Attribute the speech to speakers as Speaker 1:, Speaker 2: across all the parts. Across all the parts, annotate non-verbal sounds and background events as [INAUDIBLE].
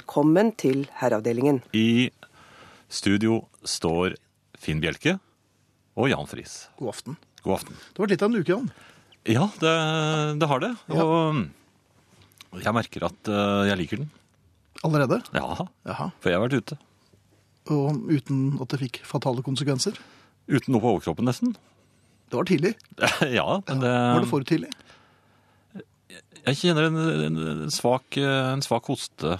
Speaker 1: Velkommen til Herreavdelingen.
Speaker 2: I studio står Finn Bjelke og Jan Friis.
Speaker 3: God aften.
Speaker 2: God aften.
Speaker 3: Det har vært litt av en uke, Jan.
Speaker 2: Ja, det, det har det. Og jeg merker at eh, jeg liker den.
Speaker 3: Allerede.
Speaker 2: Ja,
Speaker 3: Jaha.
Speaker 2: for jeg har vært ute.
Speaker 3: Og uten at det fikk fatale konsekvenser.
Speaker 2: Uten noe på overkroppen, nesten.
Speaker 3: Det var tidlig.
Speaker 2: [LAUGHS] ja, men eh, det,
Speaker 3: Var det for tidlig?
Speaker 2: jeg kjenner en, en, en, svak, eh, en svak hoste.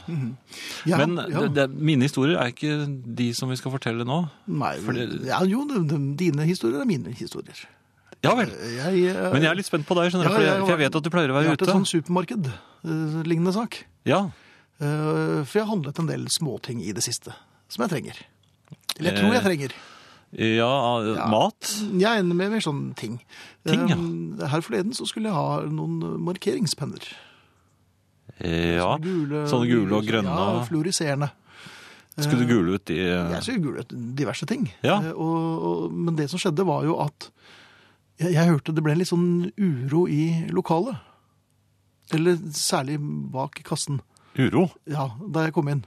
Speaker 3: Ja,
Speaker 2: men
Speaker 3: ja.
Speaker 2: det, det, mine historier er ikke de som vi skal fortelle nå.
Speaker 3: Nei,
Speaker 2: for det-
Speaker 3: ja, jo, de, de, dine historier er mine historier.
Speaker 2: Ja vel.
Speaker 3: Jeg, eh,
Speaker 2: Men jeg er litt spent på deg, skjønner du,
Speaker 3: Ja,
Speaker 2: for,
Speaker 3: jeg
Speaker 2: jeg,
Speaker 3: har
Speaker 2: for jeg
Speaker 3: vært-
Speaker 2: vet at du pleier å
Speaker 3: jeg
Speaker 2: være
Speaker 3: har vært
Speaker 2: ute.
Speaker 3: et sånn supermarked-lignende sak.
Speaker 2: Ja,
Speaker 3: Eh, For jeg har handlet en del småting i det siste, som jeg trenger. Eller jeg tror jeg
Speaker 2: Eh,
Speaker 3: trenger.
Speaker 2: ja, eh,
Speaker 3: Ja.
Speaker 2: mat.
Speaker 3: Jeg ender med mer sånne ting.
Speaker 2: Ting, ja.
Speaker 3: Eh, Her forleden så skulle jeg ha noen markeringspenner.
Speaker 2: Eh, Ja, sånne gule og grønne.
Speaker 3: Ja, fluoriserende.
Speaker 2: Skulle du gule ut eh, de
Speaker 3: Jeg så gule diverse ting.
Speaker 2: Ja.
Speaker 3: Eh, Og, og, men det som skjedde var jo at jeg, jeg hørte det ble litt sånn uro i lokalet. Eller særlig bak kassen.
Speaker 2: uro?
Speaker 3: Ja, da jeg kom inn.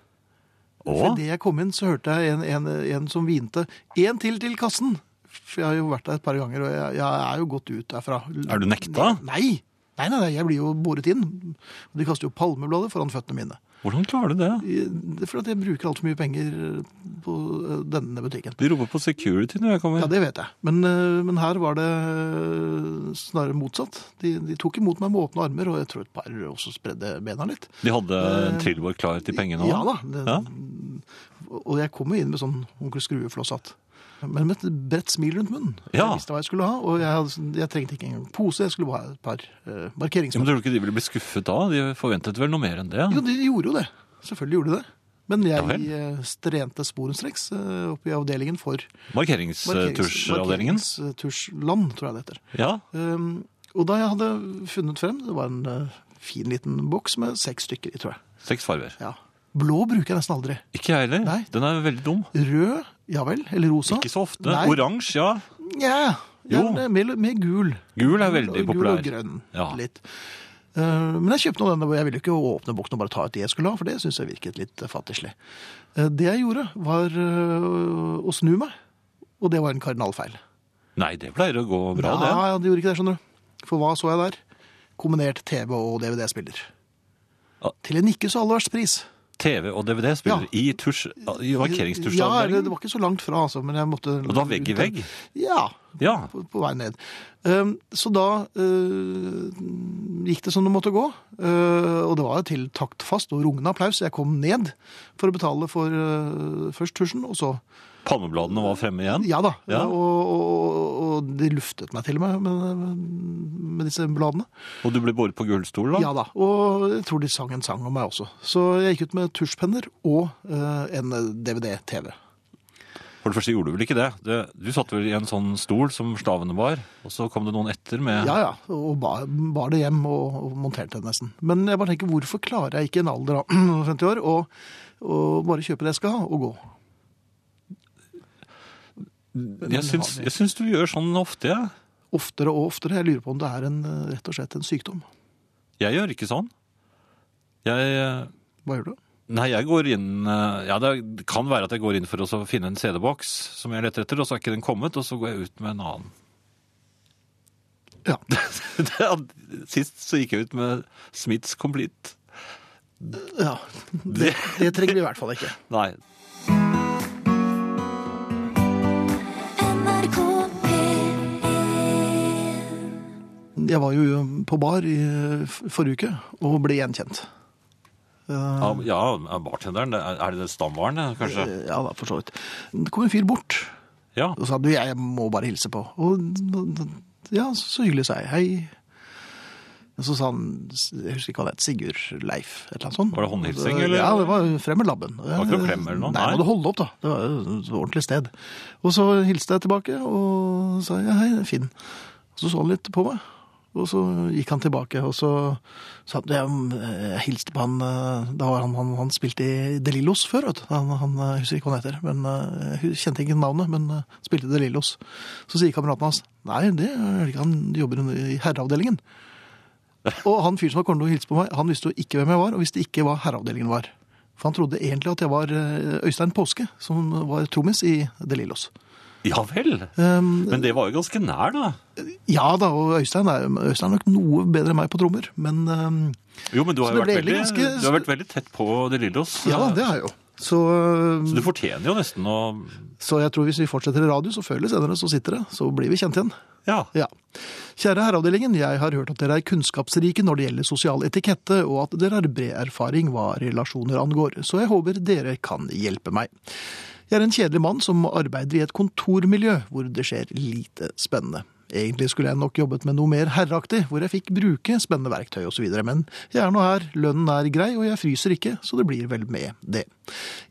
Speaker 2: Å?
Speaker 3: For Idet jeg kom inn, så hørte jeg en, en, en som hvinte 'én til til kassen'. For jeg har jo vært der et par ganger, og jeg, jeg er jo gått ut derfra.
Speaker 2: Er du nekta?
Speaker 3: Nei. Nei, nei, nei, jeg blir jo båret inn. Og de kaster jo palmeblader foran føttene mine.
Speaker 2: Hvordan klarer du det?
Speaker 3: I- Det er fordi at jeg bruker altfor mye penger på eh, denne butikken.
Speaker 2: De roper på security når jeg kommer.
Speaker 3: Ja, det vet jeg. Men, eh, men her var det eh, snarere motsatt. De, de tok imot meg med åpne armer, og jeg tror et par også spredde bena litt.
Speaker 2: De hadde en trillebår klar til pengene
Speaker 3: eh, Ja da.
Speaker 2: òg?
Speaker 3: Det, Og jeg kom jo inn med sånn onkel Skrue-flosshatt. Men med et bredt smil rundt munnen.
Speaker 2: Ja.
Speaker 3: Jeg visste hva jeg skulle ha, og jeg, hadde- sånn, jeg trengte ikke engang pose. Jeg skulle bare ha et par eh,
Speaker 2: Men
Speaker 3: markeringspenn.
Speaker 2: tror du ikke de ville bli skuffet da? De forventet vel noe mer enn det?
Speaker 3: Jo, de gjorde jo det. Selvfølgelig gjorde de det. Men
Speaker 2: Ja
Speaker 3: jeg
Speaker 2: vel.
Speaker 3: eh, strente sporenstreks eh, oppe i avdelingen for
Speaker 2: eh,
Speaker 3: markerings-
Speaker 2: Markeringstusjavdelingen?
Speaker 3: markeringstusjland, eh, tror jeg det heter.
Speaker 2: Ja.
Speaker 3: Um, og da jeg hadde funnet frem, det var en eh, fin liten boks med seks stykker i, tror jeg.
Speaker 2: Seks farger.
Speaker 3: Ja. Blå bruker jeg nesten aldri.
Speaker 2: Ikke jeg heller.
Speaker 3: Nei.
Speaker 2: Den er veldig dum.
Speaker 3: Rød, ja vel, eller rosa.
Speaker 2: Ikke så ofte.
Speaker 3: Nei.
Speaker 2: Oransje, ja.
Speaker 3: Ja,
Speaker 2: Jo.
Speaker 3: ja, med, med gul.
Speaker 2: Gul er veldig
Speaker 3: gul
Speaker 2: populær.
Speaker 3: og grønn,
Speaker 2: Ja.
Speaker 3: litt. Eh, men jeg kjøpte nå denne, og jeg ville jo ikke åpne boksen og bare ta ut det jeg skulle ha, for det synes jeg virket litt eh, fattigslig. Eh, det jeg gjorde, var eh, å snu meg, og det var en kardinalfeil.
Speaker 2: Nei, det pleier å gå bra,
Speaker 3: ja, ja, det gjorde ikke det, skjønner du. For hva så jeg der? Kombinert TV og DVD-spiller.
Speaker 2: Ja.
Speaker 3: Til en ikke så aller verst pris.
Speaker 2: det. TV og DVD spiller
Speaker 3: Ja.
Speaker 2: i, tusj, i
Speaker 3: Ja, det, det
Speaker 2: markeringstusjavdelingen.
Speaker 3: var ikke så langt fra, altså, men jeg måtte...
Speaker 2: Og da vegg i vegg?
Speaker 3: Ja,
Speaker 2: Ja.
Speaker 3: på, på vei ned. Ehm, så da eh, gikk det som det måtte gå, Eh, og det var til taktfast og rungende applaus. Jeg kom ned for å betale for eh, først tusjen, og så...
Speaker 2: Palmebladene var fremme igjen.
Speaker 3: Ja da,
Speaker 2: Ja.
Speaker 3: Og, og, og de luftet meg til og med med, med disse bladene.
Speaker 2: Og du ble båret på gullstol, da?
Speaker 3: Ja da, og jeg tror de sang en sang om meg også. Så jeg gikk ut med tusjpenner og eh, en DVD-TV.
Speaker 2: For det første gjorde du vel ikke det. det du satt vel i en sånn stol som slavene var, og så kom det noen etter med
Speaker 3: Ja ja, og bar, bar det hjem og, og monterte det nesten. Men jeg bare tenker, hvorfor klarer jeg ikke i en alder av [CLEARS THROAT] 50 år å å bare kjøpe det jeg skal ha, og gå?
Speaker 2: Jeg syns, jeg syns du gjør sånn ofte, jeg.
Speaker 3: Oftere og oftere. Jeg lurer på om det er en, eh, rett og slett en sykdom.
Speaker 2: Jeg gjør ikke sånn. Jeg eh,
Speaker 3: Hva gjør du?
Speaker 2: Nei, jeg går inn eh, Ja, det kan være at jeg går inn for å så finne en CD-boks som jeg leter etter, og så er ikke den kommet, og så går jeg ut med en annen. [LAUGHS]
Speaker 3: Ja.
Speaker 2: Det- Sist så gikk jeg ut med Smiths Complete.
Speaker 3: ja. Det, det trenger vi i hvert fall ikke.
Speaker 2: Nei.
Speaker 4: NRK P1
Speaker 3: Jeg var jo på bar i eh, forrige uke og ble gjenkjent. Eh,
Speaker 2: Ja, ja, bartenderen. det Er er det stamvaren, det, kanskje?
Speaker 3: Ja da, for så vidt. Det kom en fyr bort,
Speaker 2: Ja.
Speaker 3: og sa du, jeg må bare hilse på. Og ja, så hyggelig sa jeg, hei. Og så sa han, jeg husker ikke hva det het, Sigurd Leif, et eller annet sånt.
Speaker 2: Var det håndhilsing, eller?
Speaker 3: Ja, det var frem med labben. Det
Speaker 2: var ikke noe frem eller noe,
Speaker 3: Nei,
Speaker 2: nei.
Speaker 3: må du holde opp da. Det var jo et ordentlig sted. Og så hilste jeg tilbake, og sa ja, hei, det er Finn. Og så så han litt på meg. Og så gikk han tilbake, og så sa han jeg, jeg hilste på han eh, Da var han, han, han spilte i Delillos før, vet du. Han, han eh, husker ikke hva han heter. men eh, Jeg kjente ikke navnet, men eh, spilte i Delillos. Så sier kameraten hans nei, det er det ikke, han jobber i herreavdelingen. Og han fyren som var kommet og hilste på meg, han visste jo ikke hvem jeg var, og visste ikke hva herreavdelingen var. For han trodde egentlig at jeg var eh, Øystein Påske, som var trommis i De Lillos.
Speaker 2: Ja vel!
Speaker 3: Um,
Speaker 2: Men det var jo ganske nær, da.
Speaker 3: ja da, og Øystein er, Øystein er nok noe bedre enn meg på trommer, men um,
Speaker 2: Jo, men du har
Speaker 3: Så
Speaker 2: jo
Speaker 3: det ble
Speaker 2: vært veldig,
Speaker 3: egentlig ganske-
Speaker 2: du har vært veldig tett på De Lillos.
Speaker 3: ja, det har jeg jo. Så,
Speaker 2: Så du fortjener jo nesten å
Speaker 3: så jeg tror hvis vi fortsetter i radio, så før eller senere så sitter det. Så blir vi kjent igjen.
Speaker 2: Ja.
Speaker 3: Ja. Kjære herreavdelingen, jeg har hørt at dere er kunnskapsrike når det gjelder sosial etikette, og at dere har bred erfaring hva relasjoner angår, så jeg håper dere kan hjelpe meg. Jeg er en kjedelig mann som arbeider i et kontormiljø hvor det skjer lite spennende. Egentlig skulle jeg nok jobbet med noe mer herreaktig, hvor jeg fikk bruke spennende verktøy osv., men jeg er nå her, lønnen er grei, og jeg fryser ikke, så det blir vel med det.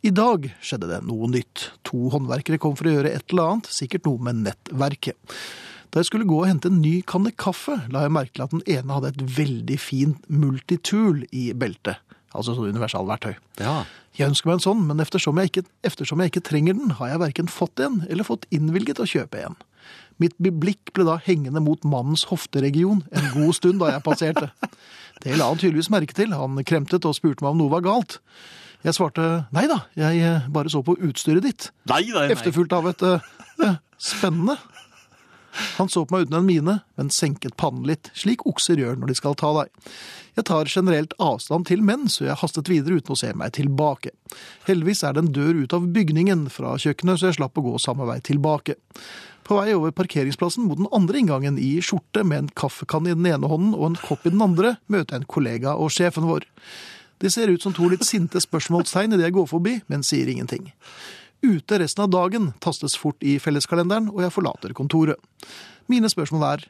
Speaker 3: I dag skjedde det noe nytt. To håndverkere kom for å gjøre et eller annet, sikkert noe med nettverket. Da jeg skulle gå og hente en ny kanne kaffe, la jeg merke til at den ene hadde et veldig fint multitool i beltet. Altså sånn universalverktøy.
Speaker 2: ja.
Speaker 3: Jeg ønsker meg en sånn, men eftersom jeg, ikke, eftersom jeg ikke trenger den, har jeg verken fått en eller fått innvilget å kjøpe en. Mitt blikk ble da hengende mot mannens hofteregion en god stund da jeg passerte. Det la han tydeligvis merke til, han kremtet og spurte meg om noe var galt. Jeg svarte nei da, jeg eh, bare så på utstyret ditt
Speaker 2: Nei, nei, nei.
Speaker 3: efterfulgt av et eh, eh, spennende. Han så på meg uten en mine, men senket pannen litt, slik okser gjør når de skal ta deg. Jeg tar generelt avstand til menn, så jeg hastet videre uten å se meg tilbake. Heldigvis er det en dør ut av bygningen fra kjøkkenet, så jeg slapp å gå samme vei tilbake. På vei over parkeringsplassen mot den andre inngangen i skjorte med en kaffekann i den ene hånden og en kopp i den andre, møter jeg en kollega og sjefen vår. De ser ut som to litt sinte spørsmålstegn idet jeg går forbi, men sier ingenting. Ute resten av dagen tastes fort i felleskalenderen, og jeg forlater kontoret. Mine spørsmål er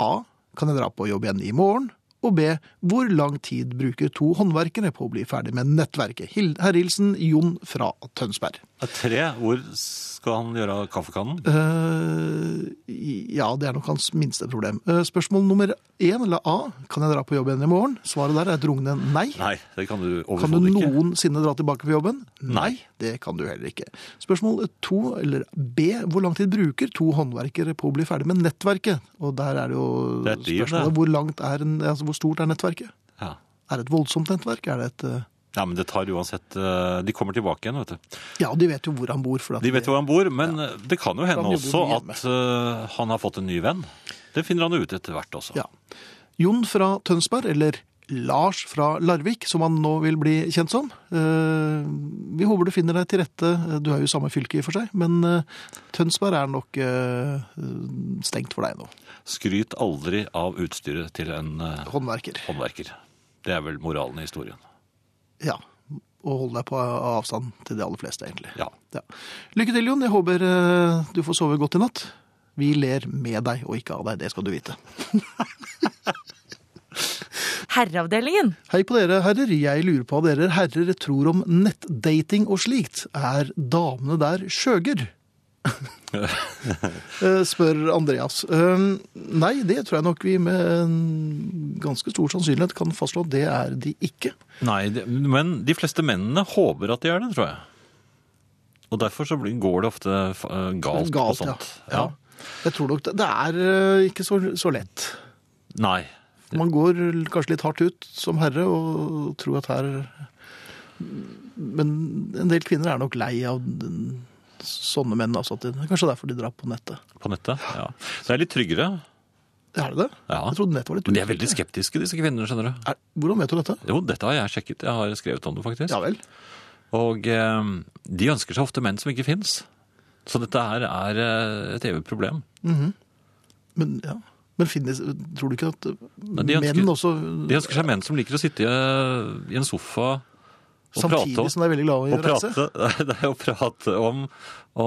Speaker 3: A. Kan jeg dra på jobb igjen i morgen? Og B. Hvor lang tid bruker to håndverkere på å bli ferdig med nettverket? Hil- Herrilsen Jon fra Tønsberg.
Speaker 2: Tre. Hvor skal han gjøre av kaffekannen?
Speaker 3: Eh, ja, det er nok hans minste problem. Eh, spørsmål nummer én, eller A. Kan jeg dra på jobb igjen i morgen? Svaret der er et rungende nei.
Speaker 2: Nei, det kan du
Speaker 3: Kan du
Speaker 2: overhodet ikke.
Speaker 3: noensinne dra tilbake på jobben?
Speaker 2: Nei.
Speaker 3: Det kan du heller ikke. Spørsmål to, eller B, hvor lang tid bruker to håndverkere på å bli ferdig med nettverket? Og der er det jo
Speaker 2: Det er dyrt, det.
Speaker 3: spørsmålet hvor, langt er en, altså, hvor stort er nettverket?
Speaker 2: Ja.
Speaker 3: Er det et voldsomt nettverk? Er det et eh,
Speaker 2: ja, men det tar uansett eh, De kommer tilbake igjen, vet du.
Speaker 3: Ja, de vet jo hvor han bor. For at
Speaker 2: De vet hvor han bor, men eh, det kan jo hende
Speaker 3: Han jobber
Speaker 2: også
Speaker 3: mye
Speaker 2: at eh, han har fått en ny venn. Det finner han jo ut etter hvert også.
Speaker 3: Ja. Jon fra Tønsberg, eller Lars fra Larvik, som han nå vil bli kjent som. Eh, vi håper du finner deg til rette. Du er jo i samme fylke i og for seg, men eh, Tønsberg er nok eh, stengt for deg nå.
Speaker 2: Skryt aldri av utstyret til en eh,
Speaker 3: Håndverker.
Speaker 2: håndverker. Det er vel moralen i historien.
Speaker 3: Ja. Og hold deg på avstand til de aller fleste, egentlig.
Speaker 2: Ja.
Speaker 3: Ja. Lykke til, Jon. Jeg håper eh, du får sove godt i natt. Vi ler med deg og ikke av deg, det skal du vite.
Speaker 4: Herreavdelingen.
Speaker 3: Hei på dere, herrer. Jeg lurer på hva dere herrer tror om nettdating og slikt. Er damene der skjøger? Eh, Spør Andreas. Eh, Nei, det tror jeg nok vi med en ganske stor sannsynlighet kan fastslå at det er de ikke.
Speaker 2: Nei, det- men de fleste mennene håper at de er det, tror jeg. Og derfor så blir, går det ofte eh, galt, og
Speaker 3: Galt, ja.
Speaker 2: sånt.
Speaker 3: ja. Jeg tror nok det, det er eh, ikke så, så lett.
Speaker 2: Nei.
Speaker 3: Man går kanskje litt hardt ut som herre og tror at her Men en del kvinner er nok lei av den, sånne menn. Altså, at det, kanskje derfor de drar på nettet.
Speaker 2: På nettet. Ja. Det er litt tryggere.
Speaker 3: Er det det?
Speaker 2: Ja.
Speaker 3: Jeg trodde nettet var litt
Speaker 2: Men de er veldig skeptiske, disse kvinnene, skjønner du.
Speaker 3: Er, Hvordan vet du dette?
Speaker 2: Jo, dette har jeg sjekket. Jeg har skrevet om det, faktisk.
Speaker 3: Ja vel.
Speaker 2: Og eh, de ønsker seg ofte menn som ikke fins. Så dette her er eh, et evig problem.
Speaker 3: Men, ja. Men finnes, tror du ikke at
Speaker 2: de ønsker-
Speaker 3: menn også
Speaker 2: De ønsker seg menn som liker å sitte i, eh, i en sofa og prate
Speaker 3: Samtidig
Speaker 2: om
Speaker 3: som de er veldig glad i
Speaker 2: Å
Speaker 3: å reise?
Speaker 2: prate, [LAUGHS] det er å prate om,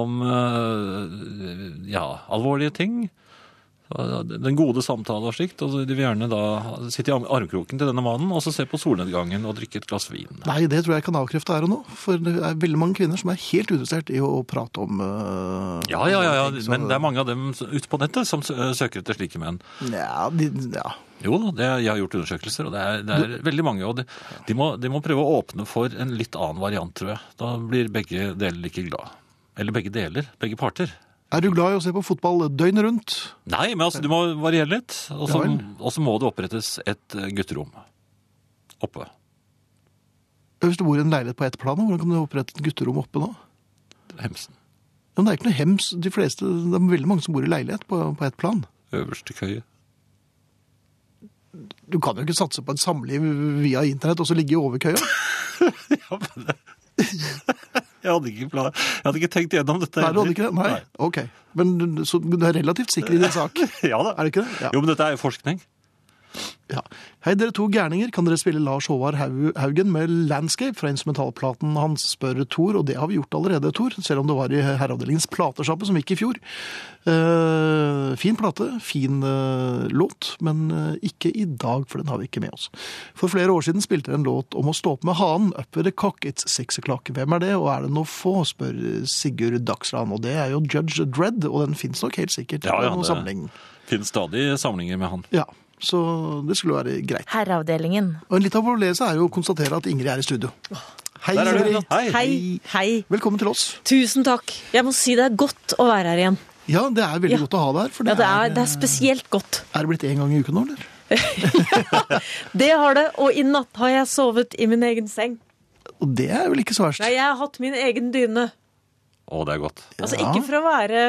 Speaker 2: om eh, ja, alvorlige ting. Den gode samtale og slikt. Og de vil gjerne da sitte i arm- armkroken til denne mannen og så se på solnedgangen og drikke et glass vin.
Speaker 3: Nei, det tror jeg kan avkrefte her og nå. For det er veldig mange kvinner som er helt uinteressert i å, å prate om eh,
Speaker 2: Ja, ja, ja, ja,
Speaker 3: ting, så-
Speaker 2: men det er mange av dem ute på nettet som sø- søker etter slike menn.
Speaker 3: Ja, de, ja.
Speaker 2: Jo da, det, jeg har gjort undersøkelser, og det er, det er veldig mange. Og de, de, må, de må prøve å åpne for en litt annen variant, tror jeg. Da blir begge deler like glad. Eller begge deler. Begge parter.
Speaker 3: Er du glad i å se på fotball døgnet rundt?
Speaker 2: Nei, men altså, du må variere litt. Og så
Speaker 3: Ja vel.
Speaker 2: og så må det opprettes et eh, gutterom oppe.
Speaker 3: Hvis du bor i en leilighet på ett plan, da, hvordan kan du opprette et gutterom oppe nå?
Speaker 2: Hemsen.
Speaker 3: Ja, men det er ikke noe hems. De fleste, det er veldig mange som bor i leilighet på, på ett plan.
Speaker 2: Øverste køye. [LAUGHS]
Speaker 3: Du kan jo ikke satse på et samliv via internett og så ligge over [LAUGHS] køya.
Speaker 2: Ja, men det... [LAUGHS] Jeg hadde, ikke plan... jeg hadde ikke tenkt gjennom dette.
Speaker 3: Nei, du
Speaker 2: heller.
Speaker 3: hadde ikke det? Nei. Ok. Men du- så du er relativt sikker i din sak.
Speaker 2: Nei. Ja da.
Speaker 3: Er det ikke det? [LAUGHS] Ja.
Speaker 2: Jo, men dette er jo forskning.
Speaker 3: Ja. Hei, dere to gærninger. Kan dere spille Lars Håvard Hau- Haugen med 'Landscape' fra instrumentalplaten hans, spør Tor. Og det har vi gjort allerede, Tor. Selv om det var i Herreavdelingens platesjappe, som gikk i fjor. Eh, fin plate, fin eh, låt, men eh, ikke i dag, for den har vi ikke med oss. For flere år siden spilte dere en låt om å stå opp med hanen. Up with the cock, it's six o'clock. Hvem er det, og er det noe få, spør Sigurd Dagsland. Og det er jo Judge Dredd, og den fins nok helt sikkert.
Speaker 2: Ja, ja,
Speaker 3: i noen
Speaker 2: det-
Speaker 3: sammenheng.
Speaker 2: Finnes stadig samlinger med han.
Speaker 3: Ja, så det skulle være greit.
Speaker 4: Herreavdelingen.
Speaker 3: Og en litt av vår lese er jo å konstatere at Ingrid er i studio. Hei,
Speaker 2: Der er du.
Speaker 3: Ingrid.
Speaker 2: Hei.
Speaker 4: Hei. Hei.
Speaker 3: Velkommen til oss.
Speaker 5: Tusen takk. Jeg må si det er godt å være her igjen.
Speaker 3: Ja, det er veldig
Speaker 5: Ja.
Speaker 3: godt å ha deg her. For det,
Speaker 5: Ja, det er,
Speaker 3: er,
Speaker 5: det er spesielt godt.
Speaker 3: er det blitt én gang i uken nå, eller?
Speaker 5: Det har det, og i natt har jeg sovet i min egen seng.
Speaker 3: Og det er vel ikke så verst.
Speaker 5: Nei, jeg har hatt min egen dyne.
Speaker 2: Å, det er godt.
Speaker 5: Altså
Speaker 3: Ja.
Speaker 5: ikke for å være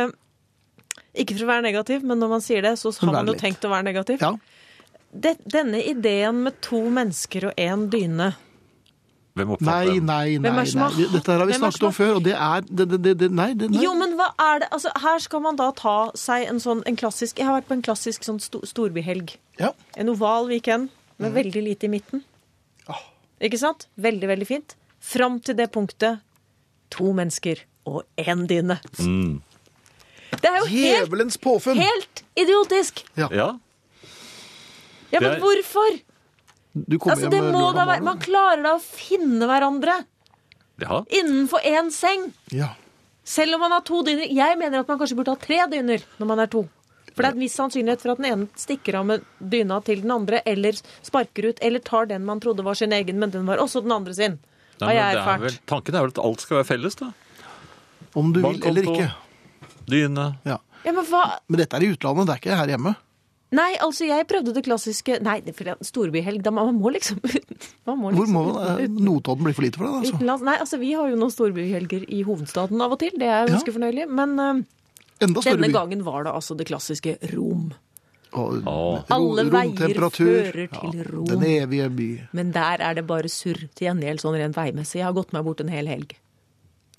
Speaker 5: ikke for å være negativ, men når man sier det, så
Speaker 3: Vær
Speaker 5: har man jo
Speaker 3: litt.
Speaker 5: tenkt å være negativ.
Speaker 3: Ja.
Speaker 5: Det, denne ideen med to mennesker og én dyne
Speaker 2: Hvem
Speaker 3: Nei,
Speaker 2: oppfatter den?
Speaker 3: nei, nei.
Speaker 5: Hvem er det som
Speaker 3: nei.
Speaker 5: har-
Speaker 3: Vi- Dette her har vi
Speaker 5: Hvem er det
Speaker 3: snakket
Speaker 5: som
Speaker 3: om før, og det er det, det, det, det, Nei, det, nei.
Speaker 5: Jo, men hva er det? Altså, her skal man da ta seg en sånn en klassisk Jeg har vært på en klassisk sånn sto, storbyhelg.
Speaker 3: Ja.
Speaker 5: En oval weekend med veldig lite i midten. Ikke sant? Veldig, veldig fint. Fram til det punktet to mennesker og én dyne.
Speaker 2: Mm.
Speaker 5: Det er jo helt,
Speaker 3: Djevelens påfunn!
Speaker 5: helt idiotisk!
Speaker 2: Ja,
Speaker 5: Ja,
Speaker 2: Det
Speaker 5: men
Speaker 2: er-
Speaker 5: hvorfor?
Speaker 3: Du kommer
Speaker 5: Altså, det
Speaker 3: hjem
Speaker 5: må
Speaker 3: lørdag
Speaker 5: da være,
Speaker 3: morgen.
Speaker 5: Man klarer da å finne hverandre
Speaker 2: ja.
Speaker 5: innenfor én seng.
Speaker 3: Ja.
Speaker 5: Selv om man har to dyner. Jeg mener at man kanskje burde ha tre dyner når man er to. For det er en viss sannsynlighet for at den ene stikker av med dyna til den andre, eller sparker ut, eller tar den man trodde var sin egen, men den var også den andre sin.
Speaker 2: Nei,
Speaker 5: Har
Speaker 2: men
Speaker 5: jeg
Speaker 2: det er
Speaker 5: erfart.
Speaker 2: vel- Tanken er vel at alt skal være felles, da.
Speaker 3: Om du vil
Speaker 2: Bankkonto.
Speaker 3: eller ikke.
Speaker 2: Dyne.
Speaker 3: Ja.
Speaker 5: Ja, men hva?
Speaker 3: Men dette er i utlandet, det er ikke her hjemme.
Speaker 5: Nei, altså, jeg prøvde det klassiske Nei, det er fordi at storbyhelg, da man må liksom [LAUGHS] Man
Speaker 3: Hvor
Speaker 5: må liksom
Speaker 3: må eh, Notodden bli for lite for deg, altså?
Speaker 5: utenlands. Nei, altså, vi har jo noen storbyhelger i hovedstaden av og til, det er
Speaker 3: Ja.
Speaker 5: ganske fornøyelig, men eh,
Speaker 3: Enda større
Speaker 5: denne
Speaker 3: by.
Speaker 5: gangen var det altså det klassiske Rom.
Speaker 3: Og
Speaker 2: Å.
Speaker 3: ro-
Speaker 5: Alle veier
Speaker 3: romtemperatur.
Speaker 5: fører til
Speaker 3: Ja,
Speaker 5: rom.
Speaker 3: Den evige by.
Speaker 5: Men der er det bare surr til gjengjeld sånn rent veimessig. Jeg har gått meg bort en hel helg.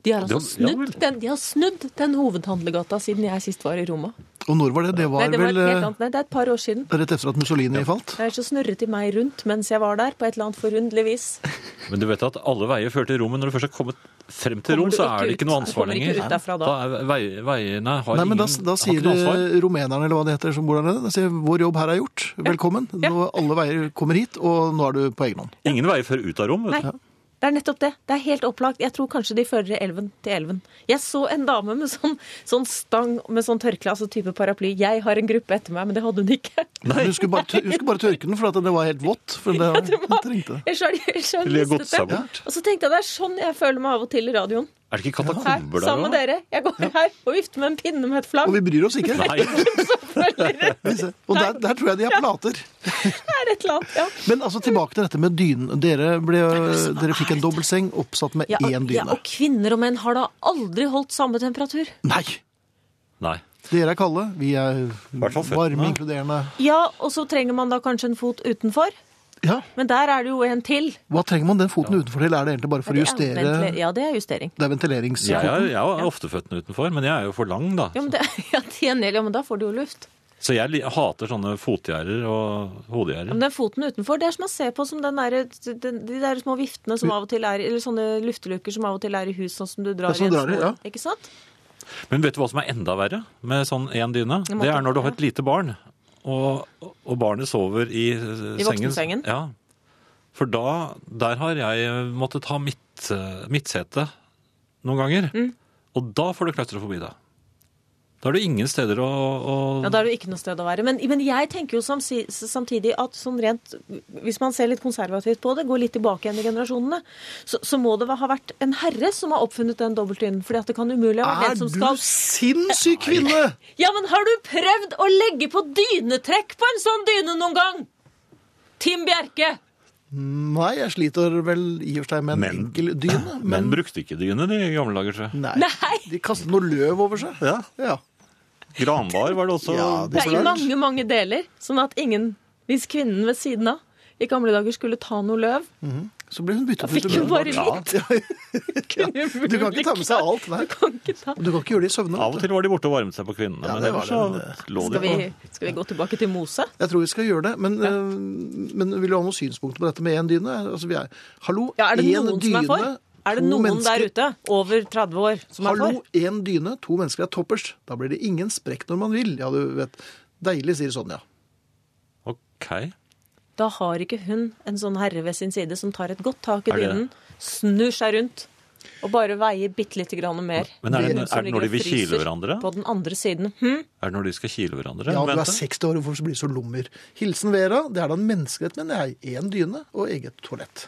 Speaker 5: De har, altså
Speaker 2: Ja, ja
Speaker 5: snudd,
Speaker 2: vel.
Speaker 5: den, de har snudd den hovedhandlegata siden jeg sist var i Roma.
Speaker 3: Og når var det? Det var,
Speaker 5: Nei, det var
Speaker 3: vel
Speaker 5: et
Speaker 3: eh,
Speaker 5: helt annet. Nei, det er et par år siden.
Speaker 3: rett etter at Mussolini falt?
Speaker 5: Jeg er så snurret i meg rundt mens jeg var der, på et eller annet forunderlig vis.
Speaker 2: Men du vet at alle veier fører til Rom, men når du først har kommet frem til
Speaker 5: Kommer
Speaker 2: Rom,
Speaker 5: du
Speaker 2: så
Speaker 5: ikke
Speaker 2: er det
Speaker 5: ut-
Speaker 2: ikke noe ansvar
Speaker 5: kommer ikke
Speaker 2: lenger.
Speaker 5: ut derfra da.
Speaker 2: er vei- veiene har
Speaker 3: Nei, men da,
Speaker 2: ingen
Speaker 3: da
Speaker 2: har
Speaker 3: sier
Speaker 2: ikke noe ansvar.
Speaker 3: eh, rumenerne, eller hva det heter, som bor der nede, da sier vår jobb her er gjort. Velkommen. Nå alle veier kommer hit, og nå er du på egen hånd.
Speaker 2: Ingen veier fører ut av Rom. vet
Speaker 5: Nei,
Speaker 2: du.
Speaker 5: det er nettopp det. Det er helt opplagt. Jeg tror kanskje de fører elven til elven. Jeg så en dame med sånn, sånn stang med sånn tørkle, altså type paraply. Jeg har en gruppe etter meg, men det hadde hun ikke.
Speaker 3: Men Hun skulle bare, tør- hun skulle bare tørke den, for at det var helt vått. For
Speaker 5: [LAUGHS]
Speaker 3: det,
Speaker 5: Det var-
Speaker 3: [LAUGHS] trengte det.
Speaker 5: Ellers har de- ellers har de
Speaker 2: Eller de har gått
Speaker 5: mistet
Speaker 2: seg
Speaker 5: det.
Speaker 2: bort.
Speaker 5: Og så tenkte jeg det er sånn jeg føler meg av og til i radioen.
Speaker 2: Er det ikke
Speaker 5: Her,
Speaker 2: katakomber der
Speaker 5: sammen med dere. Jeg går her og vifter med en pinne med et flagg.
Speaker 3: Og vi bryr oss ikke.
Speaker 2: Nei,
Speaker 3: Vi ser. Og der, der tror jeg de har plater.
Speaker 5: Det er et eller annet, ja.
Speaker 3: Men altså tilbake til dette med dynen. Dere, ble, dere fikk en dobbeltseng oppsatt med
Speaker 5: Ja, og-
Speaker 3: én
Speaker 5: ja,
Speaker 3: dyne.
Speaker 5: og kvinner og menn har da aldri holdt samme temperatur.
Speaker 3: Nei!
Speaker 2: Nei.
Speaker 3: Dere er kalde, vi er
Speaker 2: hvert fall føttene.
Speaker 3: varme, inkluderende.
Speaker 5: Ja, og så trenger man da kanskje en fot utenfor.
Speaker 3: Ja,
Speaker 5: Men der er det jo en til.
Speaker 3: Hva trenger man den foten utenfor til? Er det egentlig bare for å
Speaker 5: Det er
Speaker 3: justere
Speaker 5: ventile- Ja, det er justering.
Speaker 3: Det er ventilerings...
Speaker 2: Jeg er, jeg er ofte føttene utenfor, men jeg er jo for lang, da.
Speaker 5: Ja, men, det, [LAUGHS] ja, til gjengjeld, ja, men da får du jo luft.
Speaker 2: Så jeg li- hater sånne fotgjerder og
Speaker 5: Ja,
Speaker 2: hodegjerder.
Speaker 5: men den foten utenfor, det er som man ser på som den der, den, de der små viftene som av og til er Eller sånne luftelukker som av og til er i hus, sånn som du drar
Speaker 3: Ja, sånn
Speaker 5: i en
Speaker 3: drar de,
Speaker 5: snor.
Speaker 3: ja.
Speaker 5: Ikke sant?
Speaker 2: Men vet du hva som er enda verre med sånn én dyne?
Speaker 5: måtte-
Speaker 2: Det er når du har et lite barn, og, og barnet sover i, eh,
Speaker 5: voksensengen?
Speaker 2: Ja. For da, der har jeg måttet ha mitt, eh, midtsete noen ganger. Og da får du klaustrofobi, da. Da er det ingen steder å, å
Speaker 5: Ja, Da er det jo ikke noe sted å være. Men, men jeg tenker jo samsi- samtidig at sånn rent, hvis man ser litt konservativt på det, går litt tilbake igjen i generasjonene, så, så må det ha vært en herre som har oppfunnet den dobbeltdynen. fordi at det kan umulig ha vært
Speaker 3: Er
Speaker 5: den
Speaker 3: Ah, du
Speaker 5: som skal
Speaker 3: sinnssyk kvinne?
Speaker 5: Ja, men har du prøvd å legge på dynetrekk på en sånn dyne noen gang? Tim Bjerke!
Speaker 3: Nei, jeg sliter vel i og for seg med en
Speaker 2: Men-
Speaker 3: enkel dyne.
Speaker 2: [LAUGHS] Men brukte ikke dyne de i gamle dager, tror jeg.
Speaker 3: nei.
Speaker 5: Nei!
Speaker 3: De kastet noe løv over seg.
Speaker 2: Ja.
Speaker 3: Ja.
Speaker 2: Granbar var det også.
Speaker 3: Ja, det-
Speaker 5: Det er i
Speaker 3: Populært.
Speaker 5: mange, mange deler. Sånn at ingen Hvis kvinnen ved siden av i gamle dager skulle ta noe løv,
Speaker 3: Så ble hun byttet
Speaker 5: fikk
Speaker 3: ut.
Speaker 5: hun
Speaker 3: med-
Speaker 5: bare
Speaker 3: [LAUGHS]
Speaker 5: litt. Kunne jo
Speaker 3: Du
Speaker 5: [LAUGHS]
Speaker 3: kan ikke ta med seg alt, nei.
Speaker 5: Du kan ikke ta.
Speaker 3: Du kan ikke gjøre det i søvne.
Speaker 2: Av og
Speaker 3: vet du.
Speaker 2: til var de borte og varmet seg på kvinnene,
Speaker 3: Ja,
Speaker 2: men
Speaker 3: det var
Speaker 2: ellers så
Speaker 3: det,
Speaker 2: lå de
Speaker 5: Skal vi, skal vi gå tilbake til Mose?
Speaker 3: Jeg tror vi skal gjøre det, men, øh, men vil du ha noen synspunkter på dette med én dyne? Altså, vi er, hallo,
Speaker 5: Ja, er det
Speaker 3: én
Speaker 5: noen som
Speaker 3: dyne,
Speaker 5: er for? Er det
Speaker 3: to
Speaker 5: noen
Speaker 3: mennesker.
Speaker 5: der ute over 30 år som er
Speaker 3: Hallo,
Speaker 5: for?
Speaker 3: én dyne, to mennesker er toppers. Da blir det ingen sprekk når man vil. Ja, du vet. Deilig, sier Sonja.
Speaker 2: OK.
Speaker 5: Da har ikke hun en sånn herre ved sin side som tar et godt tak i
Speaker 2: Er det det?
Speaker 5: dynen, snur seg rundt og bare veier bitte lite grann mer.
Speaker 2: Men er det,
Speaker 5: Hun som
Speaker 2: er det når de
Speaker 5: ligger
Speaker 2: vil
Speaker 5: og fryser
Speaker 2: kile hverandre?
Speaker 5: På den andre siden. Hm?
Speaker 2: Er det når de skal kile hverandre?
Speaker 3: Ja, du er
Speaker 2: Bente?
Speaker 3: 60 år, hvorfor blir du så lummer? Hilsen Vera. Det er da en menneskerett, men jeg. Én dyne og eget toalett.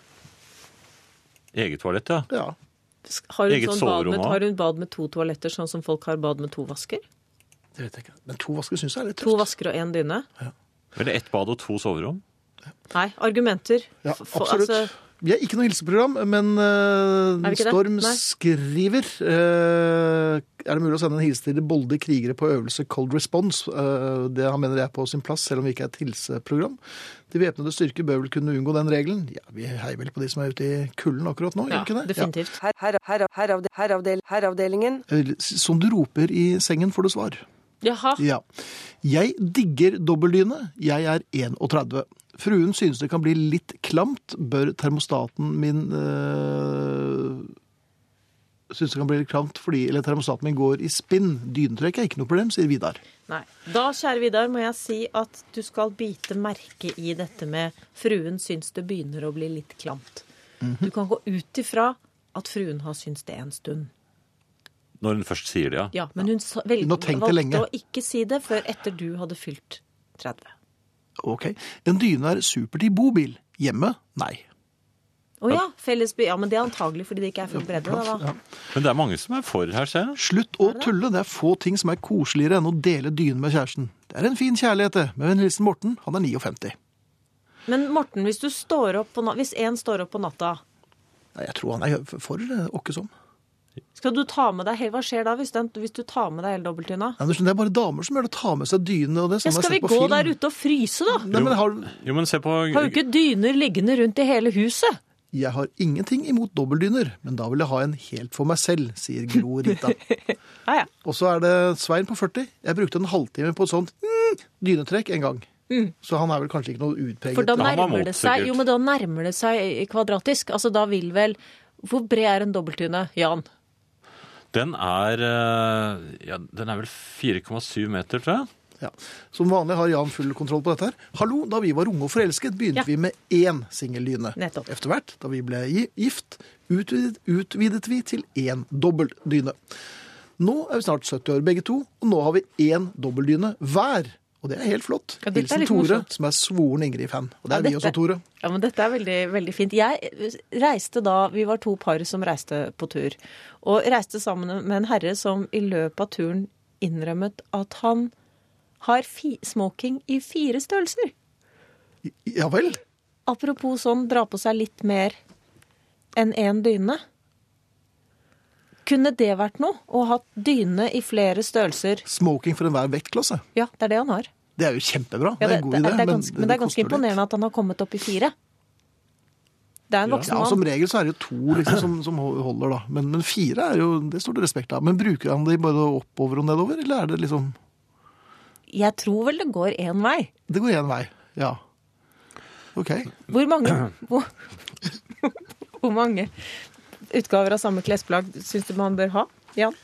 Speaker 2: Eget toalett, ja.
Speaker 3: Ja.
Speaker 5: Har hun,
Speaker 2: Eget
Speaker 5: sånn bad
Speaker 2: soverom
Speaker 5: med,
Speaker 2: også?
Speaker 5: har hun bad med to toaletter, sånn som folk har bad med to vasker?
Speaker 3: Det vet jeg ikke. Men to vasker syns jeg er litt
Speaker 5: To
Speaker 3: tøft.
Speaker 5: vasker og én dyne?
Speaker 2: Eller ett bad og to soverom?
Speaker 5: Nei, argumenter.
Speaker 3: Ja,
Speaker 5: For- for-
Speaker 3: absolutt.
Speaker 5: altså,
Speaker 3: Vi er ikke noe hilseprogram, men eh,
Speaker 5: Er vi ikke det?
Speaker 3: Storm
Speaker 5: Nei.
Speaker 3: skriver eh, Er det mulig å sende en hilsen til de bolde krigere på øvelse Cold Response? Eh, det han mener er på sin plass, selv om vi ikke er et hilseprogram. De væpnede styrker bør vel kunne unngå den regelen? Ja, vi heier vel på de som er ute i kulden akkurat nå,
Speaker 5: ja,
Speaker 3: gjør vi ikke det? Ja.
Speaker 5: definitivt.
Speaker 1: Her, her, her, heravde, heravdel, heravdelingen.
Speaker 3: Eller, Eh, Som du roper i sengen, får du svar.
Speaker 5: Jaha.
Speaker 3: Ja. Jeg digger dobbeldyne. Jeg er 31. Fruen synes det kan bli litt klamt. Bør termostaten min øh, Synes det kan bli litt klamt fordi eller termostaten min går i spinn. Dynetrekk er ikke noe problem, sier Vidar.
Speaker 5: Nei. Da, kjære Vidar, må jeg si at du skal bite merke i dette med fruen syns det begynner å bli litt klamt. Du kan gå ut ifra at fruen har syntes det en stund.
Speaker 2: Når hun først sier det, ja.
Speaker 5: Ja, Men hun sa- vel,
Speaker 3: Hun har tenkt det
Speaker 5: valgte
Speaker 3: lenge.
Speaker 5: å ikke si det før etter du hadde fylt 30.
Speaker 3: Ok. En dyne er supert i bobil. Hjemme? Nei.
Speaker 5: Å ja, fellesby. Ja, men det er antagelig fordi det ikke er full bredde. Da, da.
Speaker 2: Men det er mange som er for her, ser jeg.
Speaker 3: Slutt å tulle. Det er få ting som er koseligere enn å dele dyne med kjæresten. Det er en fin kjærlighet, det. Med vennligheten Morten. Han er 59.
Speaker 5: Men Morten, hvis, du står opp på na hvis en står opp på natta,
Speaker 3: Nei, jeg tror han er for eh, åkkesom.
Speaker 5: skal du ta med deg hele Hva skjer da hvis, den, hvis du tar med deg hele dobbeltdyna?
Speaker 3: Andersen, det er bare damer som gjør det. Ta med seg dyne og det.
Speaker 5: Ja,
Speaker 3: Sånn
Speaker 5: skal vi
Speaker 3: jeg har sett på
Speaker 5: gå
Speaker 3: film.
Speaker 5: der ute og fryse, da?
Speaker 3: Nei, men har,
Speaker 2: Jo, men se på
Speaker 5: Har jo ikke dyner liggende rundt i hele huset.
Speaker 3: jeg har ingenting imot dobbeldyner, men da vil jeg ha en helt for meg selv, sier Gro
Speaker 5: [LAUGHS]
Speaker 3: Rita.
Speaker 5: Ja, ja.
Speaker 3: og så er det Svein på 40. Jeg brukte en halvtime på et sånt mm, dynetrekk en gang. Så han er vel kanskje ikke noe utpreget.
Speaker 5: Mm. For da
Speaker 2: han var
Speaker 5: nærmer
Speaker 2: mot,
Speaker 5: det seg
Speaker 2: sikkert.
Speaker 5: Jo, men da nærmer det seg kvadratisk. Altså, da vil vel Hvor bred er en dobbeltdyne, Jan?
Speaker 2: Den er eh, ja, Den er vel 4,7 meter, tror jeg.
Speaker 3: Ja. Som vanlig har Jan full kontroll på dette her. Hallo, da vi var unge og forelsket, begynte
Speaker 5: Ja.
Speaker 3: vi med én singeldyne.
Speaker 5: Nettopp.
Speaker 3: Etter hvert, da vi ble gi- gift, utvidet, utvidet vi til én dobbeltdyne. Nå er vi snart 70 år begge to, og nå har vi én dobbeltdyne hver. Og det er helt flott.
Speaker 5: Ja, dette
Speaker 3: Hilsen
Speaker 5: er litt
Speaker 3: Tore,
Speaker 5: morsomt.
Speaker 3: som er svoren Ingrid-fan. Og det er vi
Speaker 5: Ja, dette-
Speaker 3: også, Tore.
Speaker 5: Ja, men Dette er veldig, veldig fint. Jeg reiste da Vi var to par som reiste på tur. Og reiste sammen med en herre som i løpet av turen innrømmet at han har fi, smoking i fire størrelser.
Speaker 3: Ja vel?
Speaker 5: Apropos sånn dra på seg litt mer enn én dyne. Kunne det vært noe? Å ha dyne i flere størrelser?
Speaker 3: Smoking for enhver vektklasse.
Speaker 5: Ja, det er det han har.
Speaker 3: Det er jo kjempebra.
Speaker 5: Ja,
Speaker 3: det, er en god idé.
Speaker 5: det er ganske, men det er ganske
Speaker 3: koster litt.
Speaker 5: imponerende at han har kommet opp i fire. Det er en voksen
Speaker 3: Ja, Som
Speaker 5: mann.
Speaker 3: regel så er det jo to liksom, som, som holder, da. Men, men fire er jo Det står det respekt av. Men bruker han de både oppover og nedover, eller er det liksom
Speaker 5: Jeg tror vel det går én vei.
Speaker 3: Det går én vei. Ja. OK.
Speaker 5: Hvor mange,
Speaker 3: [CLEARS THROAT]
Speaker 5: hvor, hvor mange utgaver av samme klesplagg syns du man bør ha? Jan?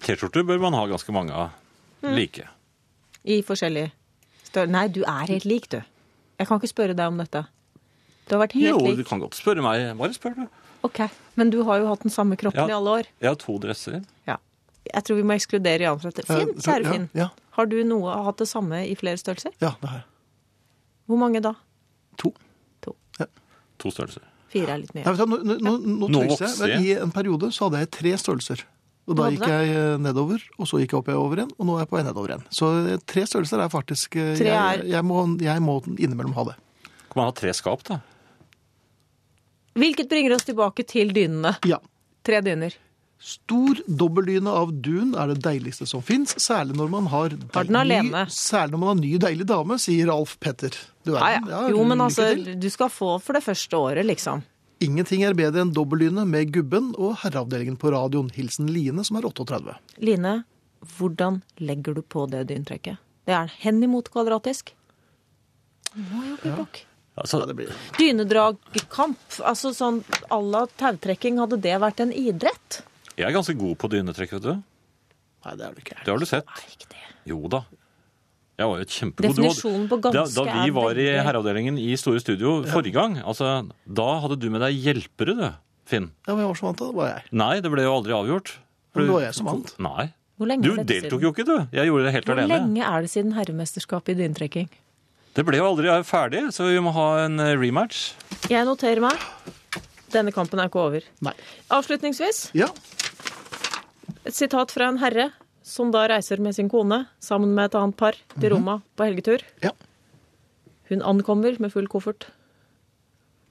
Speaker 2: T-skjorter bør man ha ganske mange av.
Speaker 5: Mm.
Speaker 2: Like.
Speaker 5: I forskjellige størrelser. Nei, du er helt lik, du. Jeg kan ikke spørre deg om dette. Du har vært
Speaker 2: Jo,
Speaker 5: helt
Speaker 2: du
Speaker 5: lik.
Speaker 2: kan godt spørre meg. Bare spør, du.
Speaker 5: Ok, Men du har jo hatt den samme
Speaker 2: Ja.
Speaker 5: kroppen i alle år.
Speaker 2: Jeg har to dresser.
Speaker 5: Ja. Jeg tror vi må ekskludere Jan fra dette. Finn,
Speaker 3: Eh, så-
Speaker 5: kjære
Speaker 3: ja,
Speaker 5: Finn.
Speaker 3: ja.
Speaker 5: Har du noe hatt det samme i flere størrelser?
Speaker 3: Ja, det har jeg.
Speaker 5: Hvor mange da?
Speaker 3: To.
Speaker 5: To.
Speaker 2: To størrelser.
Speaker 5: Fire er litt mye.
Speaker 3: Nei, vet du, hva, nå, nå, nå,
Speaker 2: Nå
Speaker 3: nå tøyser jeg,
Speaker 2: vokser
Speaker 3: men I en periode så hadde jeg tre størrelser. Og
Speaker 5: Du
Speaker 3: Da
Speaker 5: hadde
Speaker 3: gikk jeg eh, nedover, og så gikk jeg oppover igjen, og nå er jeg på vei nedover igjen. Så eh, tre størrelser er faktisk eh,
Speaker 5: Tre er-
Speaker 3: Jeg, jeg, må, jeg må innimellom ha det.
Speaker 2: Kan man ha tre skap, da?
Speaker 5: Hvilket bringer oss tilbake til dynene.
Speaker 3: Ja.
Speaker 5: Tre dyner.
Speaker 3: Stor dobbeldyne av dun er det deiligste som fins, særlig når man har,
Speaker 5: Har den
Speaker 3: dei-
Speaker 5: alene.
Speaker 3: Særlig når man har ny, deilig dame, sier Alf Petter. Du
Speaker 5: Ja,
Speaker 3: verden.
Speaker 5: ja.
Speaker 3: Ja,
Speaker 5: Jo, men
Speaker 3: lykke
Speaker 5: altså,
Speaker 3: til.
Speaker 5: du skal få for det første året, liksom.
Speaker 3: Ingenting er bedre enn dobbeldyne med Gubben og Herreavdelingen på radioen. Hilsen Line, som er 38.
Speaker 5: Line, hvordan legger du på det dyntrekket? Det er henimot kvadratisk. Må jo bli blokk.
Speaker 2: Altså,
Speaker 3: Ja, det blir
Speaker 5: Dynedragkamp, altså sånn à la tautrekking, hadde det vært en idrett?
Speaker 2: jeg er ganske god på dynetrekk, vet du.
Speaker 3: Nei, det er det ikke.
Speaker 2: Det har du sett.
Speaker 5: Nei, ikke det.
Speaker 2: Jo da. Jeg var jo et kjempegod du var-
Speaker 5: Definisjonen på ganske
Speaker 2: da, da vi
Speaker 5: er
Speaker 2: var i
Speaker 5: veldig-
Speaker 2: herreavdelingen i Store Studio forrige gang, altså, da hadde du med deg hjelpere, du, Finn.
Speaker 3: Ja, Hvem var som vant, da? Det var jeg.
Speaker 2: Nei, det ble jo aldri avgjort.
Speaker 3: Men det var jeg som vant.
Speaker 2: Nei.
Speaker 5: Hvor lenge
Speaker 2: Du
Speaker 5: er dette
Speaker 2: deltok
Speaker 5: siden?
Speaker 2: jo ikke, du. Jeg gjorde det helt
Speaker 5: Hvor
Speaker 2: alene.
Speaker 5: lenge er det siden herremesterskapet i dyntrekking?
Speaker 2: Det ble jo aldri ferdig, så vi må ha en eh, rematch.
Speaker 5: Jeg noterer meg. Denne kampen er ikke over.
Speaker 3: Nei.
Speaker 5: Avslutningsvis,
Speaker 3: Ja,
Speaker 5: et sitat fra en herre som da reiser med sin kone sammen med et annet par
Speaker 2: Mhm.
Speaker 5: til Roma på helgetur.
Speaker 3: ja.
Speaker 5: Hun ankommer med full koffert.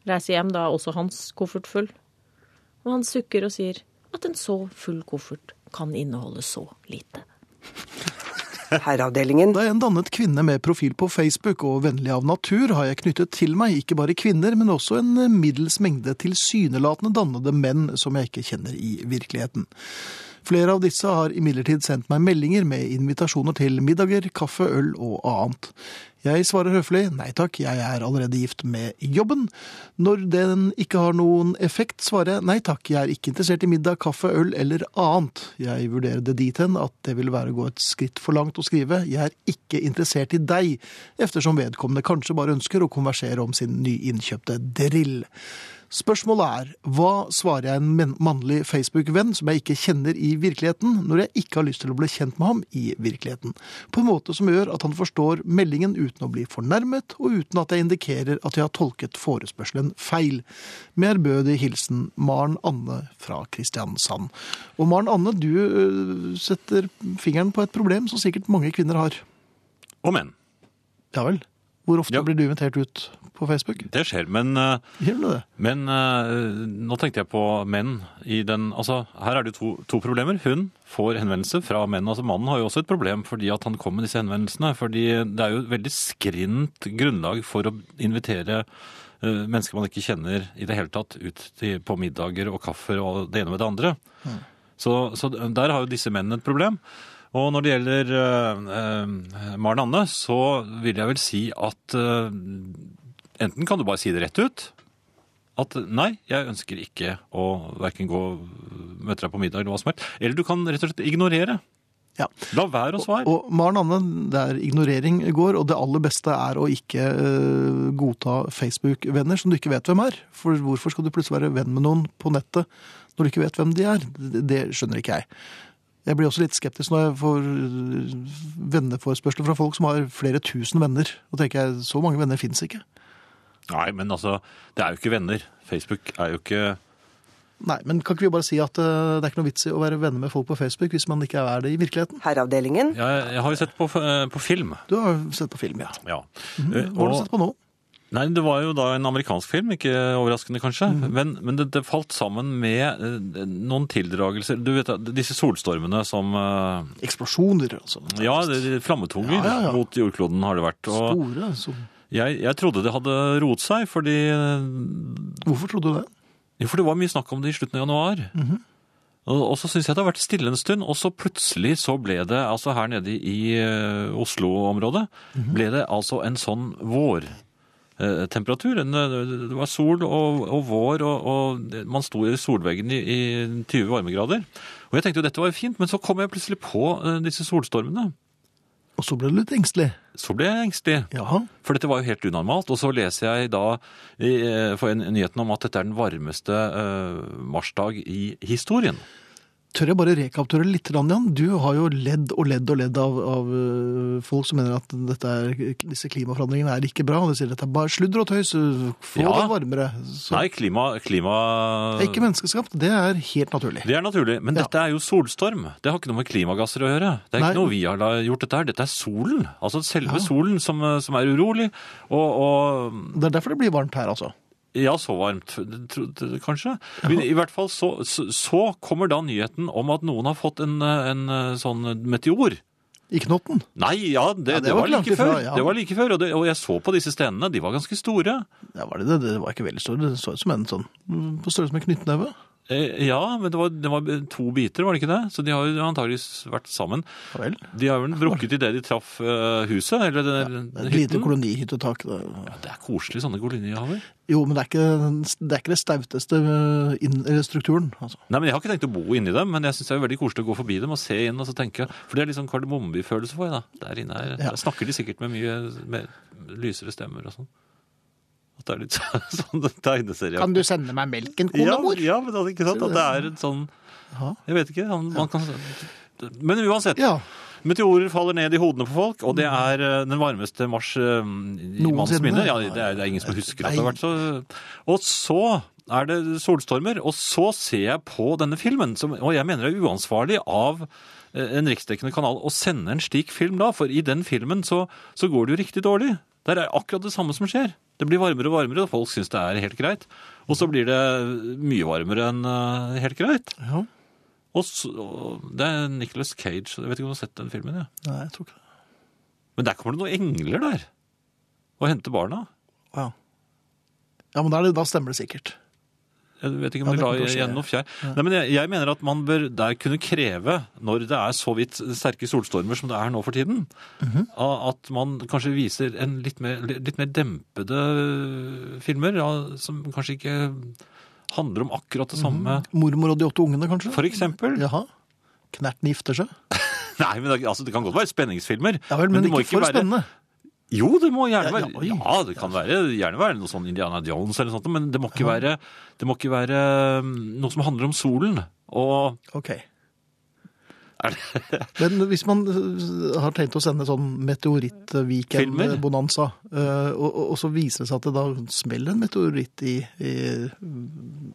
Speaker 5: Reiser hjem, da er også hans koffert full. Og han sukker og sier at en så full koffert kan inneholde så lite.
Speaker 1: Herreavdelingen.
Speaker 3: Da jeg dannet kvinne med profil på Facebook og vennlig av natur, har jeg knyttet til meg ikke bare kvinner, men også en middels mengde tilsynelatende dannede menn som jeg ikke kjenner i virkeligheten. Flere av disse har imidlertid sendt meg meldinger med invitasjoner til middager, kaffe, øl og annet. Jeg svarer høflig nei takk, jeg er allerede gift med jobben. Når den ikke har noen effekt, svarer jeg nei takk, jeg er ikke interessert i middag, kaffe, øl eller annet. Jeg vurderer det dit hen at det vil være å gå et skritt for langt å skrive jeg er ikke interessert i deg, eftersom vedkommende kanskje bare ønsker å konversere om sin nyinnkjøpte drill. Spørsmålet er, hva svarer jeg en men- mannlig Facebook-venn som jeg ikke kjenner i virkeligheten, når jeg ikke har lyst til å bli kjent med ham i virkeligheten? På en måte som gjør at han forstår meldingen uten å bli fornærmet, og uten at jeg indikerer at jeg har tolket forespørselen feil. Med ærbødig hilsen Maren Anne fra Kristiansand. Og Maren Anne, du øh, setter fingeren på et problem som sikkert mange kvinner har.
Speaker 2: Og menn.
Speaker 3: Ja vel? Hvor ofte
Speaker 2: Ja.
Speaker 3: blir du invitert ut på Facebook?
Speaker 2: Det skjer, men eh,
Speaker 3: Gjør du det?
Speaker 2: Men eh, nå tenkte jeg på menn i den Altså, her er det jo to, to problemer. Hun får henvendelser fra menn. Altså, mannen har jo også et problem fordi at han kom med disse henvendelsene. Fordi det er jo et veldig skrint grunnlag for å invitere eh, mennesker man ikke kjenner i det hele tatt, ut til, på middager og kaffer og det ene med det andre. Så, så der har jo disse mennene et problem. Og når det gjelder eh, eh, Maren Anne, så vil jeg vel si at eh, enten kan du bare si det rett ut, at nei, jeg ønsker ikke å hverken gå og møte deg på middag eller hva som helst. Eller du kan rett og slett ignorere.
Speaker 3: Ja.
Speaker 2: La være å svare.
Speaker 3: Og Maren Anne, der ignorering går, og det aller beste er å ikke eh, godta Facebook-venner som du ikke vet hvem er. For hvorfor skal du plutselig være venn med noen på nettet når du ikke vet hvem de er? Det, det skjønner ikke jeg. Jeg blir også litt skeptisk når jeg får eh, venneforespørsler fra folk som har flere tusen venner. Og tenker jeg, så mange venner fins ikke.
Speaker 2: Nei, men altså, det er jo ikke venner. Facebook er jo ikke
Speaker 3: Nei, men kan ikke vi bare si at eh, det er ikke noe vits i å være venner med folk på Facebook hvis man ikke er det i virkeligheten?
Speaker 1: Herreavdelingen.
Speaker 2: Jeg, jeg har jo sett på, eh, på film.
Speaker 3: Du har jo sett på film, ja.
Speaker 2: Ja. Eh,
Speaker 3: Mhm. Hva har du
Speaker 2: og-
Speaker 3: sett på nå?
Speaker 2: Nei, det var jo da en amerikansk film, ikke overraskende kanskje.
Speaker 3: Mhm.
Speaker 2: Men, men det, det falt sammen med eh, noen tildragelser. Du vet, disse solstormene som eh,
Speaker 3: Eksplosjoner, altså.
Speaker 2: Ja, det- det- flammetunger
Speaker 3: Ja, ja, ja.
Speaker 2: mot jordkloden har det vært. Og
Speaker 3: Store som
Speaker 2: jeg, jeg trodde det hadde roet seg, fordi eh,
Speaker 3: Hvorfor trodde du det?
Speaker 2: Jo, for det var mye snakk om det i slutten av januar. Og og så syns jeg det har vært stille en stund, og så plutselig så ble det, altså her nede i eh, Oslo-området, ble det altså en sånn eh, vårtemperatur. eh, Det var sol og, og vår, og, og det- man sto i solveggen i, i 20 varmegrader. Og jeg tenkte jo dette var jo fint, men så kom jeg plutselig på eh, disse solstormene.
Speaker 3: Og så ble du litt engstelig.
Speaker 2: Så ble jeg engstelig.
Speaker 3: Jaha.
Speaker 2: For dette var jo helt unormalt. Og så leser jeg da i, eh, for en, nyheten om at dette er den varmeste eh, marsdag i historien.
Speaker 3: Tør jeg bare rekapturere litt, grann, Jan? Du har jo ledd og ledd og ledd av, av øh, folk som mener at dette er, disse klimaforandringene er ikke bra. Og de sier dette er bare sludder og tøys. øh, Få
Speaker 2: Ja.
Speaker 3: det varmere. Så,
Speaker 2: Nei, øh. klima, klima
Speaker 3: Det er ikke menneskeskapt. Det er helt naturlig.
Speaker 2: Det er naturlig. Men
Speaker 3: Ja.
Speaker 2: dette er jo solstorm. Det har ikke noe med klimagasser å gjøre. Det er
Speaker 3: Nei.
Speaker 2: ikke noe vi har la- gjort dette her. Dette er solen. Altså selve solen som, eh, som er urolig. Og, og
Speaker 3: Det er derfor det blir varmt her, altså.
Speaker 2: Ja, så varmt, tro- tro- kanskje. Men i hvert fall så, så, så kommer da nyheten om at noen har fått en, eh, en eh, sånn meteor.
Speaker 3: I knotten.
Speaker 2: Nei, ja, det, det,
Speaker 3: Ja, det var
Speaker 2: var,
Speaker 3: ikke langt
Speaker 2: like før.
Speaker 3: ifra, ja.
Speaker 2: Det var like før, og, det, og jeg så på disse stenene. De var ganske store.
Speaker 3: Ja, var det, det? det var ikke veldig stor. Det så ut som en sånn mm, på størrelse med knyttneve.
Speaker 2: Eh, ja, men det var, det var to biter, var det ikke det? Så de har jo antageligvis vært sammen.
Speaker 3: Ja Vel.
Speaker 2: De har vel brukket idet de traff eh, huset, eller den
Speaker 3: Et lite
Speaker 2: hytten.
Speaker 3: kolonihyttetak. da.
Speaker 2: Det er koselig, sånne kolonihaver.
Speaker 3: Jo, men det er ikke, den- det, er ikke det stauteste eh, inn- eller strukturen. Altså.
Speaker 2: Nei, men Jeg har ikke tenkt å bo inni dem, men jeg syns det er veldig koselig å gå forbi dem og se inn. og så tenke, For det er litt sånn kardemommebyfølelse for jeg, da. Der inne er,
Speaker 3: Ja.
Speaker 2: der snakker de sikkert med mye med lysere stemmer og sånn. At det er litt [LAUGHS] sånn tegneserie.
Speaker 3: du sende meg melken,
Speaker 2: ja, ja, men altså, ikke sant? At det er et sånn
Speaker 3: Ja.
Speaker 2: Jeg vet ikke. Han, man kan, men uansett.
Speaker 3: Ja.
Speaker 2: Meteorer faller ned i hodene på folk, og det er eh, den varmeste mars eh, i manns
Speaker 3: Noensinne.
Speaker 2: minne. Ja, det, er, det er ingen som husker at det har vært så Og så er det solstormer, og så ser jeg på denne filmen, som, og jeg mener det er uansvarlig av eh, en riksdekkende kanal å sende en slik film da, for i den filmen så, så går det jo riktig dårlig. Der er akkurat det samme som skjer. Det blir varmere og varmere, og folk syns det er helt greit. Og så blir det mye varmere enn eh, helt greit.
Speaker 3: ja.
Speaker 2: Og så, og det er Nicolas Cage, jeg vet ikke om du har sett den filmen, ja.
Speaker 3: Nei, jeg tror ikke det.
Speaker 2: Men der kommer det noen engler der og henter barna.
Speaker 3: Ja, ja men da, er det, da stemmer det sikkert.
Speaker 2: Jeg vet ikke om
Speaker 3: Ja, det
Speaker 2: det la
Speaker 3: kommer til å skje.
Speaker 2: igjen noe fjær. Nei, men jeg, jeg mener at man bør der kunne kreve, når det er så vidt sterke solstormer som det er nå for tiden,
Speaker 3: Mhm.
Speaker 2: a- at man kanskje viser en litt mer, litt mer dempede filmer, ja, som kanskje ikke handler om akkurat
Speaker 3: Mhm.
Speaker 2: det samme.
Speaker 3: Mormor og de åtte ungene, kanskje?
Speaker 2: For eksempel.
Speaker 3: Jaha. Knerten gifter seg?
Speaker 2: [LAUGHS] Nei, men det, altså, det kan godt være spenningsfilmer.
Speaker 3: Ja vel, men,
Speaker 2: det må
Speaker 3: ikke, for
Speaker 2: være-
Speaker 3: spennende.
Speaker 2: Jo, det må gjerne
Speaker 3: Ja, ja,
Speaker 2: være
Speaker 3: oi.
Speaker 2: Ja, det kan være, gjerne være noe sånn Indiana Jones eller noe sånt, men det må ikke være, det må ikke være um, noe som handler om solen. Og
Speaker 3: Ok.
Speaker 2: er det,
Speaker 3: Men hvis man øh, har tenkt å sende sånn
Speaker 2: Filmer?
Speaker 3: meteoritt-weekend-bonanza, øh, og, og- og så viser det seg at det da smeller en meteoritt i, i,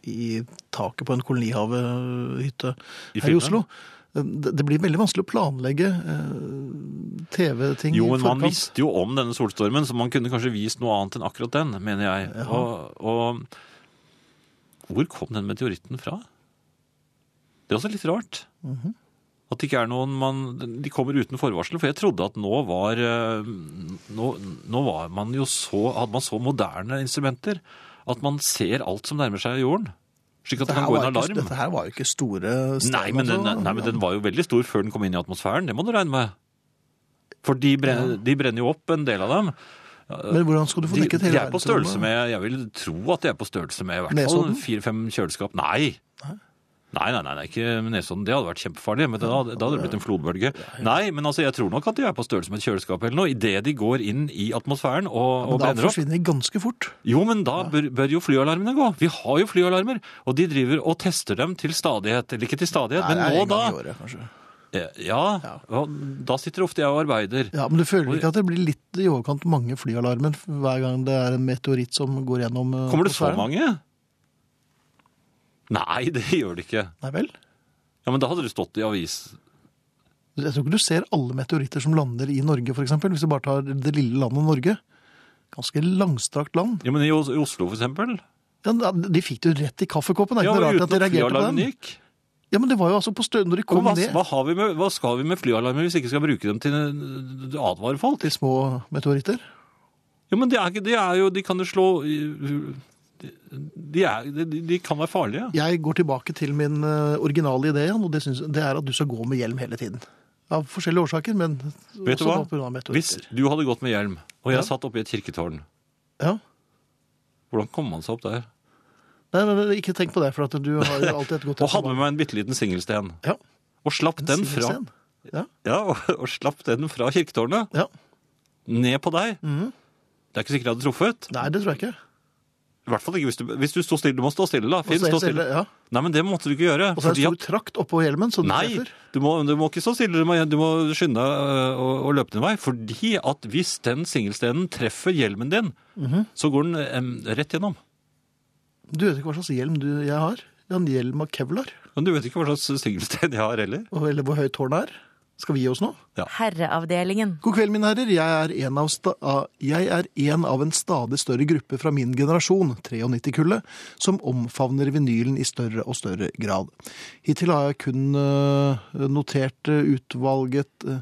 Speaker 3: i taket på en kolonihavehytte
Speaker 2: I
Speaker 3: her i
Speaker 2: filmen?
Speaker 3: Oslo eh, det det blir veldig vanskelig å planlegge øh, TV-ting i
Speaker 2: jo, men man
Speaker 3: forkant.
Speaker 2: visste jo om denne solstormen, så man kunne kanskje vist noe annet enn akkurat den, mener jeg. Og, og hvor kom den meteoritten fra? Det er også litt rart.
Speaker 3: Mhm.
Speaker 2: At det ikke er noen man De kommer uten forvarsel, for jeg trodde at nå var eh, Nå, nå var man jo så Hadde man så moderne instrumenter at man ser alt som nærmer seg jorden. Slik at det
Speaker 3: Dette
Speaker 2: kan
Speaker 3: her
Speaker 2: gå en
Speaker 3: var jo ikke-
Speaker 2: alarm.
Speaker 3: Dette her var jo ikke store steder. altså.
Speaker 2: Nei men, den, nei, men den var jo veldig stor før den kom inn i atmosfæren. Det må du regne med. For de brenner, de brenner jo opp, en del av dem.
Speaker 3: Men hvordan skal du få
Speaker 2: De,
Speaker 3: dekket
Speaker 2: de
Speaker 3: hele
Speaker 2: er på størrelse med Jeg vil tro at de er på størrelse med i hvert fall
Speaker 3: Nesodden?
Speaker 2: fire-fem kjøleskap. Nei! Nei, nei, nei, nei, ikke Nesodden. Det hadde vært kjempefarlig. Men da, da hadde det blitt en flodbølge. Nei, men altså, jeg tror nok at de er på størrelse med et kjøleskap eller noe idet de går inn i atmosfæren og, og
Speaker 3: Da
Speaker 2: brenner opp.
Speaker 3: forsvinner de ganske fort.
Speaker 2: Jo, men da bør, bør jo flyalarmene gå. Vi har jo flyalarmer. Og de driver og tester dem til stadighet. Eller ikke til stadighet,
Speaker 3: Nei, det er
Speaker 2: men nå
Speaker 3: en
Speaker 2: da.
Speaker 3: gang i året, kanskje.
Speaker 2: Eh, Ja, og da sitter ofte jeg og arbeider.
Speaker 3: Ja, Men du føler ikke at det blir litt i overkant mange flyalarmer hver gang det er en meteoritt som går gjennom eh,
Speaker 2: Kommer det så
Speaker 3: atmosfæren?
Speaker 2: mange? Nei, [LAUGHS] det gjør det ikke.
Speaker 3: Nei vel?
Speaker 2: Ja, Men da hadde det stått i avis.
Speaker 3: Jeg tror ikke du ser alle meteoritter som lander i Norge, f.eks. Hvis du bare tar det lille landet Norge. Ganske langstrakt land.
Speaker 2: Ja, men I Os- i Oslo, for eksempel.
Speaker 3: Ja, de fikk det jo rett i kaffekoppen. Det er
Speaker 2: Ja,
Speaker 3: ikke
Speaker 2: men
Speaker 3: noe rart
Speaker 2: uten
Speaker 3: at de
Speaker 2: at
Speaker 3: reagerte på
Speaker 2: flyalarmen
Speaker 3: den.
Speaker 2: gikk.
Speaker 3: Ja, men det var jo altså på stø... Når de
Speaker 2: Og
Speaker 3: kom
Speaker 2: hva,
Speaker 3: ned
Speaker 2: hva, har vi med, hva skal vi med flyalarmer hvis vi ikke skal bruke dem til å advare folk?
Speaker 3: til små meteoritter
Speaker 2: Jo, men de, er, ikke- de er jo De kan jo slå i- de, er, de, de kan være farlige.
Speaker 3: Jeg går tilbake til min eh, originale idé, Jan, og det, syns- det er at du skal gå med hjelm hele tiden. Av forskjellige årsaker, men
Speaker 2: Vet du
Speaker 3: også
Speaker 2: hva?
Speaker 3: på grunn av
Speaker 2: Hvis
Speaker 3: meteoritter.
Speaker 2: du hadde gått med hjelm, og jeg
Speaker 3: Ja.
Speaker 2: satt oppe i et kirketårn,
Speaker 3: Ja.
Speaker 2: hvordan kom man seg opp der?
Speaker 3: Nei, nei, nei, ikke tenk på det, for at du
Speaker 2: [LAUGHS]
Speaker 3: har jo alltid et godt
Speaker 2: Og hadde med meg en bitte liten singelsten.
Speaker 3: Ja,
Speaker 2: Og slapp
Speaker 3: en
Speaker 2: den fra
Speaker 3: singelsten. Ja,
Speaker 2: Ja, [LAUGHS] og, og slapp den fra kirketårnet
Speaker 3: ja.
Speaker 2: ned på deg.
Speaker 3: Mhm.
Speaker 2: Det er ikke sikkert jeg hadde truffet.
Speaker 3: Nei, det tror jeg ikke.
Speaker 2: I hvert fall ikke hvis du, hvis du sto stille. Du må stå stille, da.
Speaker 3: Og
Speaker 2: Finn,
Speaker 3: så er
Speaker 2: stå
Speaker 3: det
Speaker 2: stille.
Speaker 3: stille, ja.
Speaker 2: Nei, men det måtte du ikke gjøre.
Speaker 3: Og så er det
Speaker 2: fordi
Speaker 3: en stor trakt oppå hjelmen, så
Speaker 2: at,
Speaker 3: du
Speaker 2: nei,
Speaker 3: treffer.
Speaker 2: du må, du må ikke stå stille. Du må, du må skynde deg og, og løpe din vei. Fordi at hvis den singelstenen treffer hjelmen din,
Speaker 3: Mhm.
Speaker 2: så går den em, rett gjennom.
Speaker 3: Du vet ikke hva slags hjelm du, jeg har. Jeg har en hjelm av kevlar,
Speaker 2: Men du vet ikke hva slags singelsten jeg har heller.
Speaker 3: og- eller hvor høyt tårnet er. Skal vi gi oss nå?
Speaker 4: Herreavdelingen.
Speaker 3: God kveld, mine herrer. Jeg er, en av sta av- jeg er en av en stadig større gruppe fra min generasjon, 93-kullet, som omfavner vinylen i større og større grad. Hittil har jeg kun øh, notert øh, utvalget øh,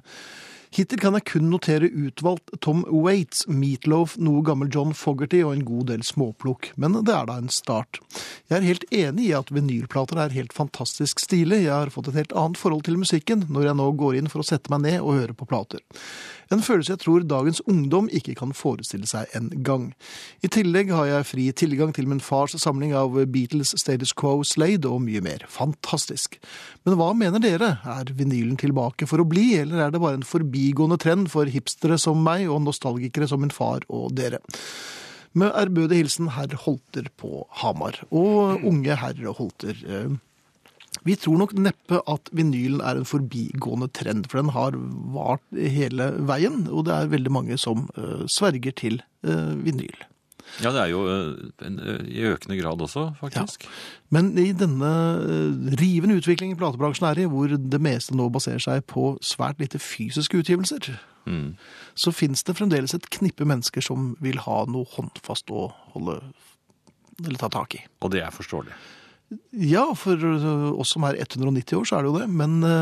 Speaker 3: Hittil kan jeg kun notere utvalgt Tom Waits, Meatloaf, noe gammel John Fogerty og en god del småplukk. Men det er da en start. Jeg er helt enig i at vinylplater er helt fantastisk stilig. Jeg har fått et helt annet forhold til musikken når jeg nå går inn for å sette meg ned og høre på plater. En følelse jeg tror dagens ungdom ikke kan forestille seg en gang. I tillegg har jeg fri tilgang til min fars samling av Beatles, Status Quo, Slade og mye mer. Fantastisk. Men hva mener dere? Er vinylen tilbake for å bli, eller er det bare en forbigående trend for hipstere som meg og nostalgikere som min far og dere? Med ærbødig hilsen herr Holter på Hamar, og unge herr Holter. eh, vi tror nok neppe at vinylen er en forbigående trend, for den har vart hele veien, og det er veldig mange som eh, sverger til eh, vinyl.
Speaker 2: Ja, det er jo eh, en, eh, i økende grad også, faktisk.
Speaker 3: Men i denne eh, rivende utviklingen platebransjen er i, hvor det meste nå baserer seg på svært lite fysiske utgivelser,
Speaker 2: Mm.
Speaker 3: så fins det fremdeles et knippe mennesker som vil ha noe håndfast å holde eller ta tak i.
Speaker 2: Og det er forståelig.
Speaker 3: Ja, for ø, oss som er 190 år, så er det jo det. Men ø,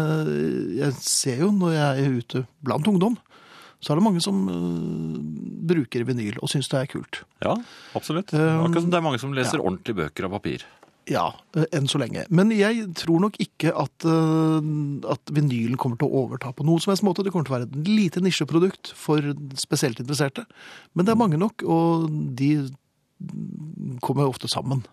Speaker 3: jeg ser jo når jeg er ute blant ungdom, så er det mange som ø, bruker vinyl og syns det er kult.
Speaker 2: Ja, absolutt.
Speaker 3: Um,
Speaker 2: Akkurat som det er mange som leser ordentlige bøker av papir.
Speaker 3: Ja, ø, enn så lenge. Men jeg tror nok ikke at, ø, at vinylen kommer til å overta på noen som helst måte. Det kommer til å være et lite nisjeprodukt for spesielt interesserte. Men det er mange nok, og de kommer ofte sammen.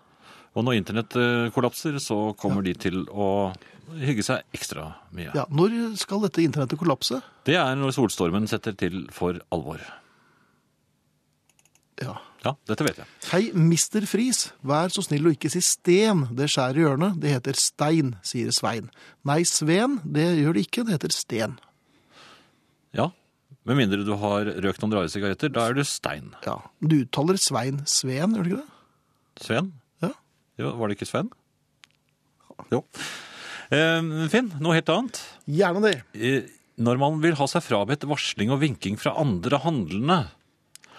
Speaker 2: Og når internett eh, kollapser, så kommer de til å hygge seg ekstra mye.
Speaker 3: Ja, Når skal dette internettet kollapse?
Speaker 2: Det er når solstormen setter til for alvor.
Speaker 3: Ja,
Speaker 2: Ja, dette vet jeg.
Speaker 3: Hei, Mr. Friis. Vær så snill å ikke si sten. Det skjærer i hjørnet. Det heter stein, sier Svein. Nei, Sven, det gjør det ikke. Det heter sten.
Speaker 2: Ja, Med mindre du har røkt noen rare sigaretter, da er du stein.
Speaker 3: Ja, Du uttaler Svein Sveen, gjør du ikke det?
Speaker 2: Sven?
Speaker 3: Ja.
Speaker 2: Jo, Var det ikke Sven? Jo. Eh, Finn, noe helt annet.
Speaker 3: Gjerne det.
Speaker 2: Eh, Når man vil ha seg frabedt varsling og vinking fra andre handlende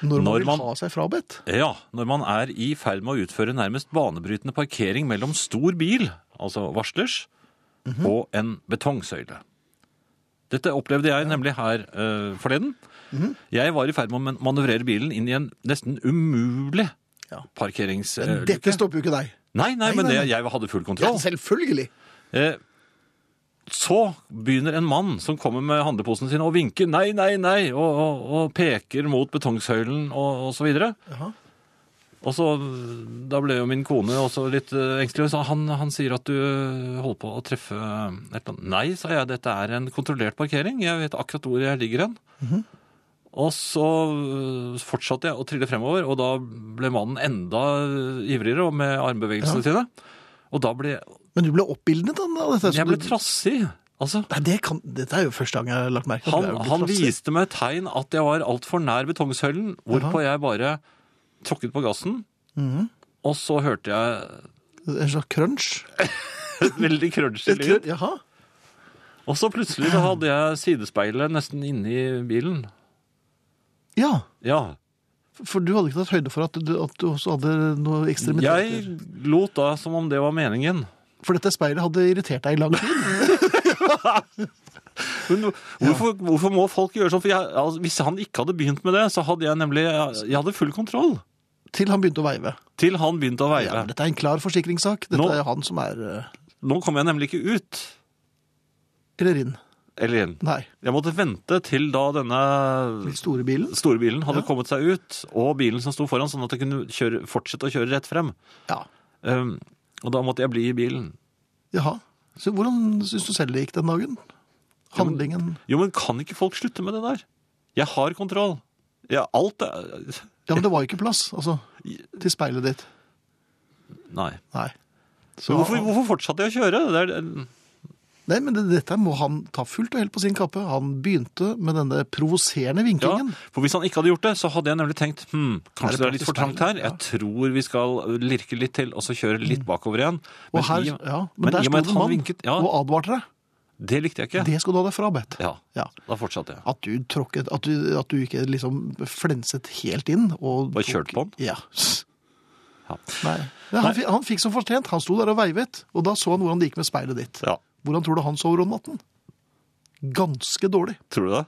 Speaker 3: Når man
Speaker 2: Når man-
Speaker 3: vil ha seg frabedt.
Speaker 2: Ja, når man er i ferd med å utføre nærmest banebrytende parkering mellom stor bil, altså varslers,
Speaker 3: Mhm.
Speaker 2: og en betongsøyle. Dette opplevde jeg nemlig her eh, forleden.
Speaker 3: Mhm.
Speaker 2: Jeg var i ferd med å man- manøvrere bilen inn i en nesten umulig
Speaker 3: Ja.
Speaker 2: parkerings...
Speaker 3: Men
Speaker 2: eh,
Speaker 3: dette
Speaker 2: luke.
Speaker 3: stopper jo ikke deg.
Speaker 2: Nei, nei,
Speaker 3: Nei,
Speaker 2: men
Speaker 3: nei,
Speaker 2: det, jeg hadde full
Speaker 3: Ja,
Speaker 2: kontroll.
Speaker 3: selvfølgelig.
Speaker 2: Eh, så begynner en mann som kommer med handleposen sin og vinker nei, nei, nei, og, og, og peker mot betongsøylen og, og så videre.
Speaker 3: Jaha.
Speaker 2: Og så, Da ble jo min kone også litt eh, engstelig. og sa han, han sier at du holder på å treffe eh, et eller annet. Nei, sa jeg, dette er en kontrollert parkering. Jeg vet akkurat hvor jeg ligger hen. Og så eh, fortsatte jeg å trille fremover, og da ble mannen enda eh, ivrigere og med armbevegelsene sine. Og da ble
Speaker 3: Men du ble oppildnet av dette? så
Speaker 2: jeg ble
Speaker 3: du-
Speaker 2: trassig. Altså,
Speaker 3: Nei, det kan... Dette er jo første gang jeg har lagt merke til at
Speaker 2: han,
Speaker 3: jeg blir
Speaker 2: han
Speaker 3: trassig.
Speaker 2: viste meg tegn at jeg var altfor nær betongsøylen, hvorpå jeg bare tråkket på gassen.
Speaker 3: Mhm.
Speaker 2: Og så hørte jeg
Speaker 3: sånn- En slags crunch? [LAUGHS]
Speaker 2: et veldig crunchy
Speaker 3: Et crunch?
Speaker 2: lyd.
Speaker 3: Jaha.
Speaker 2: Og så plutselig så hadde jeg sidespeilet nesten inni bilen.
Speaker 3: Ja.
Speaker 2: Ja.
Speaker 3: For du hadde ikke tatt høyde for at du, at du også hadde noe ekstremiteter?
Speaker 2: Jeg lot da som om det var meningen.
Speaker 3: For dette speilet hadde irritert deg i lang tid.
Speaker 2: Men hvorfor, hvorfor må folk gjøre sånn? For jeg, altså, hvis han ikke hadde begynt med det, så hadde jeg nemlig Jeg hadde full kontroll.
Speaker 3: Til han begynte å veive.
Speaker 2: Til han begynte å
Speaker 3: Ja, men
Speaker 2: veive.
Speaker 3: dette er en klar forsikringssak. Dette
Speaker 2: Nå-
Speaker 3: er han som er eh,
Speaker 2: Nå kom jeg nemlig ikke ut.
Speaker 3: Eller inn.
Speaker 2: Eller inn.
Speaker 3: Nei.
Speaker 2: Jeg måtte vente til da denne
Speaker 3: Den store bilen.
Speaker 2: store bilen hadde
Speaker 3: Ja.
Speaker 2: kommet seg ut, og bilen som sto foran, sånn at jeg kunne kjøre, fortsette å kjøre rett frem.
Speaker 3: Ja.
Speaker 2: Um, og da måtte jeg bli i bilen.
Speaker 3: Jaha. Så hvordan syns du selv det gikk den dagen? Handlingen
Speaker 2: Jo, men kan ikke folk slutte med det der? Jeg har kontroll. Ja, alt er
Speaker 3: Ja, men det var jo ikke plass, altså. Til speilet ditt.
Speaker 2: Nei.
Speaker 3: Nei. Så,
Speaker 2: Men hvorfor, hvorfor fortsatte jeg å kjøre? Det er,
Speaker 3: Nei, men det, dette må han ta fullt og helt på sin kappe. Han begynte med denne provoserende
Speaker 2: ja,
Speaker 3: vinkingen.
Speaker 2: for hvis han ikke hadde gjort det, så hadde jeg nemlig tenkt hm,
Speaker 3: Er det
Speaker 2: kanskje det er litt for
Speaker 3: plass til
Speaker 2: trangt her.
Speaker 3: speilet? Ja.
Speaker 2: Jeg tror vi skal lirke litt til, og så kjøre litt bakover igjen.
Speaker 3: Mm. Og her,
Speaker 2: i-
Speaker 3: ja, men,
Speaker 2: men i
Speaker 3: der
Speaker 2: og
Speaker 3: sto
Speaker 2: med at
Speaker 3: det en
Speaker 2: han
Speaker 3: mann
Speaker 2: vinket- ja.
Speaker 3: og advarte deg.
Speaker 2: Det likte jeg ikke.
Speaker 3: Det skal du ha deg frabedt.
Speaker 2: Ja,
Speaker 3: Ja.
Speaker 2: da fortsatte jeg.
Speaker 3: At du tråkket At du, at du ikke liksom flenset helt inn og
Speaker 2: Bare
Speaker 3: tok-
Speaker 2: kjørte på
Speaker 3: Ja.
Speaker 2: Ja.
Speaker 3: Nei. Ja, han, fi- han fikk som fortjent. Han sto der og veivet, og da så han hvordan det gikk med speilet ditt.
Speaker 2: Ja,
Speaker 3: Hvordan tror du han sover om natten? Ganske dårlig.
Speaker 2: Tror [LAUGHS] du det?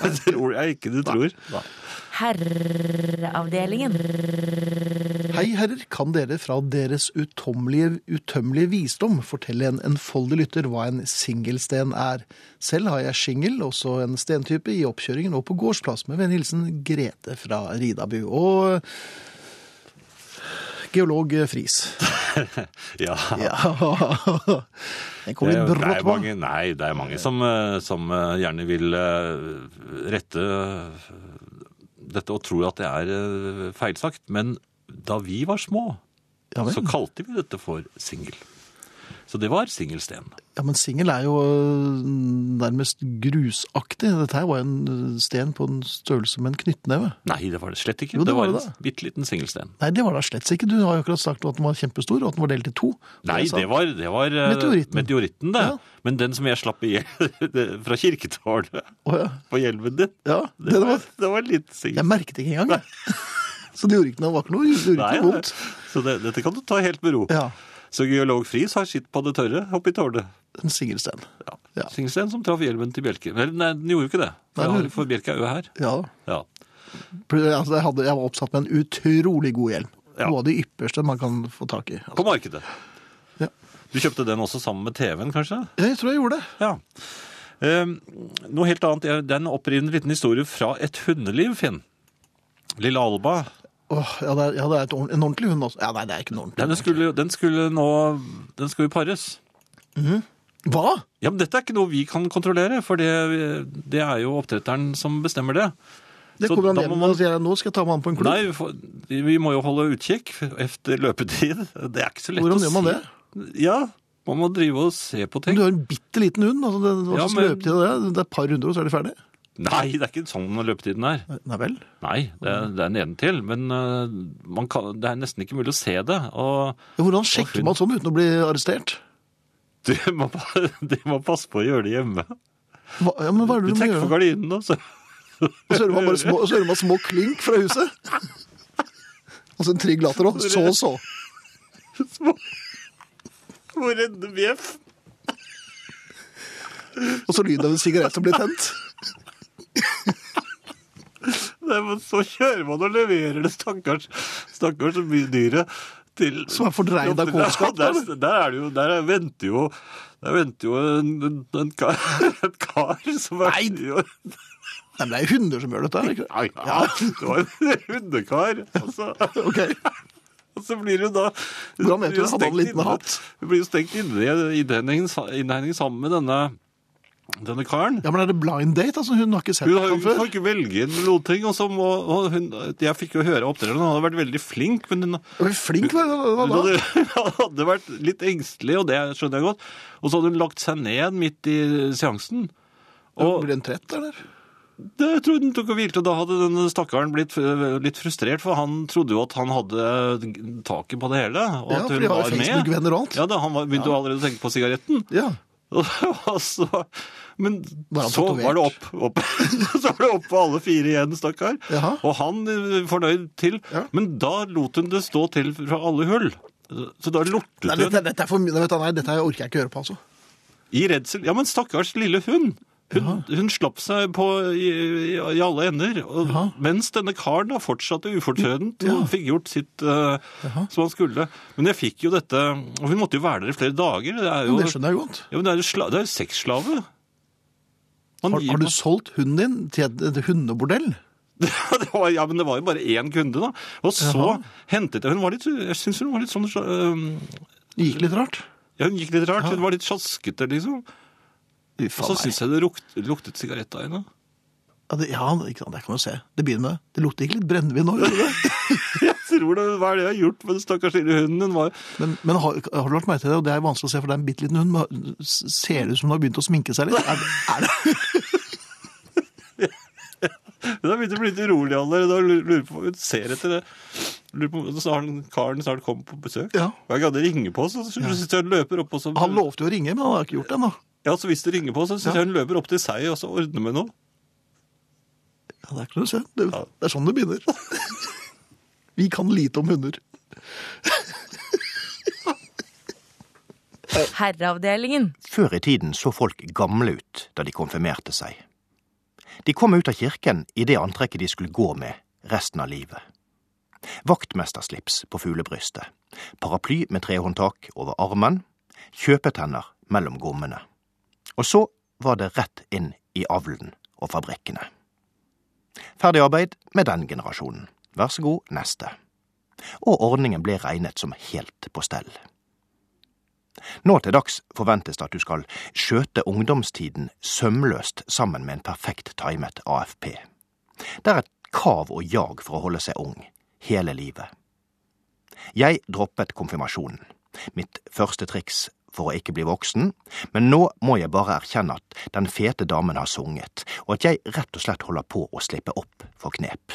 Speaker 2: Det tror jeg ikke du tror. Nei.
Speaker 4: Herreavdelingen.
Speaker 3: Hei herrer, kan dere fra deres utommelige, utømmelige visdom fortelle en enfoldig lytter hva en singelsten er? Selv har jeg shingel, også en stentype, i oppkjøringen og på gårdsplass. Med vennlig hilsen Grete fra Ridabu. Og eh, geolog eh, Friis.
Speaker 2: [LAUGHS] Ja.
Speaker 3: [LAUGHS] Ja. Den kom
Speaker 2: Det er- det
Speaker 3: litt
Speaker 2: er
Speaker 3: brått på.
Speaker 2: mange, nei, det er mange som, eh, som eh, gjerne vil eh, rette eh, dette og tror at det er eh, feilsagt. Men da vi var små,
Speaker 3: Ja,
Speaker 2: så
Speaker 3: men,
Speaker 2: kalte vi dette for singel. Så det var singelsten.
Speaker 3: ja, men singel er jo øh, nærmest grusaktig. Dette her var jo en øh, sten på en størrelse med en knyttneve.
Speaker 2: Nei, det var det slett ikke.
Speaker 3: Jo, det
Speaker 2: det, var
Speaker 3: var det
Speaker 2: en
Speaker 3: da.
Speaker 2: bitte liten singelsten.
Speaker 3: Nei, det var da slett ikke. Du har jo akkurat sagt at den var kjempestor, og at den var delt i to.
Speaker 2: Nei,
Speaker 3: er sant.
Speaker 2: det var, det var eh,
Speaker 3: Meteoritten.
Speaker 2: meteoritten det.
Speaker 3: Ja.
Speaker 2: Men den som jeg slapp i [LAUGHS] hjel fra kirketårnet
Speaker 3: Å, ja.
Speaker 2: på hjelmen din,
Speaker 3: Ja,
Speaker 2: det,
Speaker 3: den
Speaker 2: var,
Speaker 3: var...
Speaker 2: det var litt
Speaker 3: Jeg
Speaker 2: singel.
Speaker 3: merket ikke engang. jeg. [LAUGHS] Så det gjorde ikke noe, var ikke noe, det gjorde ikke noe vondt.
Speaker 2: Så det, dette kan du ta helt med ro.
Speaker 3: Ja,
Speaker 2: Så geolog Friis har sitt på det tørre oppi tårnet.
Speaker 3: en singelsten.
Speaker 2: Ja.
Speaker 3: Ja.
Speaker 2: Singelsten som traff hjelmen til Bjelke. Vel, nei, den gjorde jo ikke det.
Speaker 3: Nei,
Speaker 2: For,
Speaker 3: den
Speaker 2: han- for Bjelke er jo her.
Speaker 3: Ja,
Speaker 2: Ja.
Speaker 3: altså, jeg, hadde, jeg var oppsatt med en utrolig god hjelm.
Speaker 2: Ja.
Speaker 3: Noe av det ypperste man kan få tak i. Altså.
Speaker 2: På markedet.
Speaker 3: Ja.
Speaker 2: Du kjøpte den også sammen med TV-en, kanskje?
Speaker 3: Jeg tror jeg gjorde det.
Speaker 2: Ja. Ehm, noe helt annet. Jeg- Det er en opprivende liten historie fra et hundeliv, Finn. Lille Alba.
Speaker 3: Åh, ja, det er, ja, det er et ord- en ordentlig hund også. Ja, nei, det er ikke en ordentlig
Speaker 2: Den skulle, den skulle nå Den skulle pares.
Speaker 3: Hva?
Speaker 2: Ja, men Dette er ikke noe vi kan kontrollere, for det, det er jo oppdretteren som bestemmer det.
Speaker 3: Det
Speaker 2: Så
Speaker 3: kommer han
Speaker 2: da
Speaker 3: hjem
Speaker 2: må
Speaker 3: og sier nå skal jeg ta med han på en klubb.
Speaker 2: Nei, vi får- vi må jo holde utkikk efter løpetid. Det er ikke så lett å
Speaker 3: Hvordan
Speaker 2: si.
Speaker 3: gjør man det?
Speaker 2: Ja, man må drive og se på
Speaker 3: Men
Speaker 2: ting.
Speaker 3: Du har en bitte liten hund, altså, det, hva
Speaker 2: Ja,
Speaker 3: slags
Speaker 2: men-
Speaker 3: løpetid er det? Det er et par runder, og så er de ferdig?
Speaker 2: Nei, det er ikke sånn løpetiden er.
Speaker 3: Nei vel.
Speaker 2: Nei, det er, det er nedentil, men øh, man kan, det er nesten ikke mulig å se det. Og
Speaker 3: Ja, Hvordan sjekker
Speaker 2: hund.
Speaker 3: man sånn uten å bli arrestert?
Speaker 2: du må, pa- du må passe på å gjøre det hjemme.
Speaker 3: Hva, ja, men hva er
Speaker 2: Du
Speaker 3: det du må
Speaker 2: trekker for
Speaker 3: gjøre?
Speaker 2: gardinene, og så
Speaker 3: Og så hører man bare små, og så hører man små klink fra huset. [LAUGHS] Og så en trygg latter òg. Så, så.
Speaker 2: må redde bjeff.
Speaker 3: Og så lyden av en sigarett som blir tent.
Speaker 2: Nei, men Så kjører man og leverer det stakkars, stakkars mye dyret til
Speaker 3: Som er fordreid av kålskap,
Speaker 2: Der,
Speaker 3: eller?
Speaker 2: der er det jo Der er- venter jo der venter jo en, en, en kar, [LAUGHS] en kar som er Nei! Jo,
Speaker 3: Nei, men det er jo hunder som gjør dette. er det Ikke?
Speaker 2: ja, ja, det var en hundekar. Og så,
Speaker 3: det? Ok.
Speaker 2: og så blir hun da
Speaker 3: Hvordan vet du
Speaker 2: blir jo
Speaker 3: det? Hadde han en
Speaker 2: stengt
Speaker 3: liten
Speaker 2: inne-
Speaker 3: hatt?
Speaker 2: Hun blir jo stengt inne i innhegningen sa- innhegningen sammen med denne, denne karen.
Speaker 3: Ja, men er det blind date? Altså, hun har ikke sett
Speaker 2: Hun har
Speaker 3: ham
Speaker 2: jo
Speaker 3: før.
Speaker 2: får ikke velge inn noen ting. Og så må, og hun, jeg fikk jo høre opptrederen, han hadde vært veldig flink, men hun,
Speaker 3: Hun er Flink, hva, hva
Speaker 2: Hun
Speaker 3: da?
Speaker 2: hadde, [LAUGHS] hun hadde vært litt engstelig, og det skjønner jeg godt. Og så hadde hun lagt seg ned midt i seansen. Og
Speaker 3: Blir hun trett, eller?
Speaker 2: det jeg tror hun tok og hvilte, og da hadde denne stakkaren blitt eh, litt frustrert, for han trodde jo at han hadde taket på det hele, og
Speaker 3: Ja,
Speaker 2: at
Speaker 3: for
Speaker 2: hun
Speaker 3: de har
Speaker 2: var
Speaker 3: jo
Speaker 2: med.
Speaker 3: Facebook-venner og alt.
Speaker 2: Ja, da, han var, begynte jo allerede å tenke på sigaretten.
Speaker 3: Ja.
Speaker 2: [LAUGHS] Og så, men
Speaker 3: Var han
Speaker 2: så
Speaker 3: tatovert?
Speaker 2: var det opp, opp. [LAUGHS] Så var det opp på alle fire igjen, stakkar.
Speaker 3: Jaha.
Speaker 2: Og han eh, fornøyd til.
Speaker 3: Ja.
Speaker 2: Men da lot hun det stå til fra alle hull. Så da lortet
Speaker 3: Nei,
Speaker 2: hun.
Speaker 3: dette, dette er for mye. Vet du, nei, dette her orker jeg ikke høre på, altså.
Speaker 2: I redsel. Ja, men stakkars lille hund. Hun, hun slapp seg på i, i, i alle ender, og, mens denne karen da fortsatte ufortrødent og fikk gjort sitt eh, som han skulle. Men jeg fikk jo dette Og hun måtte jo være der i flere dager. Det er jo,
Speaker 3: Men det skjønner jeg jo godt.
Speaker 2: ja, men det er jo, sla, det er jo sexslave. Man
Speaker 3: Har,
Speaker 2: gir
Speaker 3: har du
Speaker 2: jo-
Speaker 3: solgt hunden din til et, et hundebordell?
Speaker 2: det var, [LAUGHS] ja, men det var jo bare én kunde, da. Og så
Speaker 3: Jaha.
Speaker 2: hentet jeg Hun var litt Jeg syns hun var litt sånn øh,
Speaker 3: Det gikk litt rart.
Speaker 2: ja, Hun gikk litt rart. Hun var litt sjaskete, liksom.
Speaker 3: Fy
Speaker 2: Og så
Speaker 3: faen meg.
Speaker 2: syns jeg det lukt, luktet sigarett av henne. [LAUGHS]
Speaker 3: Ja, det, ja ikke sant, jeg kan jo se. Det begynner med det. Det lukter ikke litt brennevin nå, gjør det [LAUGHS] det?
Speaker 2: Jeg tror det, Hva er det jeg har gjort med den stakkars lille hunden? Den var
Speaker 3: Men, men har, har du lagt merke til det? Og det er vanskelig å se, for det er en bitte liten hund. Men ser det ut som den har begynt å sminke seg litt? Er, er det?
Speaker 2: Hun har begynt å bli litt urolig allerede og lurer på hva hun ser etter det. Lurer på, så har den karen snart kommet på besøk.
Speaker 3: Ja.
Speaker 2: Og jeg gadd ringe på, så syns jeg han løper opp og så
Speaker 3: Han lovte jo å ringe, men han har ikke gjort det ennå.
Speaker 2: Ja, så hvis det ringer på, så syns
Speaker 3: Ja.
Speaker 2: jeg hun løper opp til seg og så ordner med noe.
Speaker 3: Ja, det er ikke noe å se. Det,
Speaker 2: Ja.
Speaker 3: det er sånn det begynner. [LAUGHS] Vi kan lite om hunder.
Speaker 4: Herreavdelingen.
Speaker 6: Før i tiden så folk gamle ut da de konfirmerte seg. De kom ut av kirken i det antrekket de skulle gå med resten av livet. Vaktmesterslips på fuglebrystet, paraply med trehåndtak over armen, kjøpetenner mellom gommene. Og så var det rett inn i avlen og fabrikkene. Ferdig arbeid med den generasjonen. Vær så god, neste. Og ordningen ble regnet som helt på stell. Nå til dags forventes det at du skal skjøte ungdomstiden sømløst sammen med en perfekt timet AFP. Det er et kav og jag for å holde seg ung, hele livet. Jeg droppet konfirmasjonen, mitt første triks for å ikke bli voksen, men nå må jeg bare erkjenne at den fete damen har sunget, og at jeg rett og slett holder på å slippe opp for knep.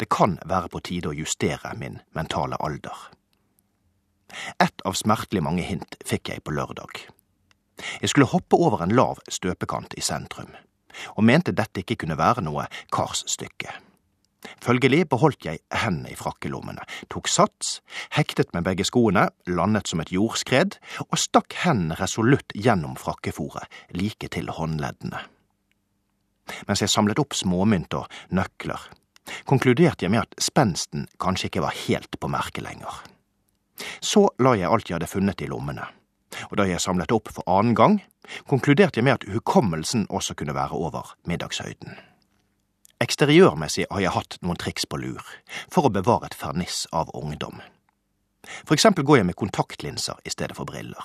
Speaker 6: Det kan være på tide å justere min mentale alder. Ett av smertelig mange hint fikk jeg på lørdag. Jeg skulle hoppe over en lav støpekant i sentrum, og mente dette ikke kunne være noe karsstykke. Følgelig beholdt jeg hendene i frakkelommene, tok sats, hektet med begge skoene, landet som et jordskred, og stakk hendene resolutt gjennom frakkefòret, like til håndleddene. Mens jeg samlet opp småmynt og nøkler, konkluderte jeg med at spensten kanskje ikke var helt på merket lenger. Så la jeg alt jeg hadde funnet i lommene. Og da jeg samlet opp for annen gang, konkluderte jeg med at hukommelsen også kunne være over middagshøyden. Eksteriørmessig har jeg hatt noen triks på lur for å bevare et ferniss av ungdom. For eksempel går jeg med kontaktlinser i stedet for briller.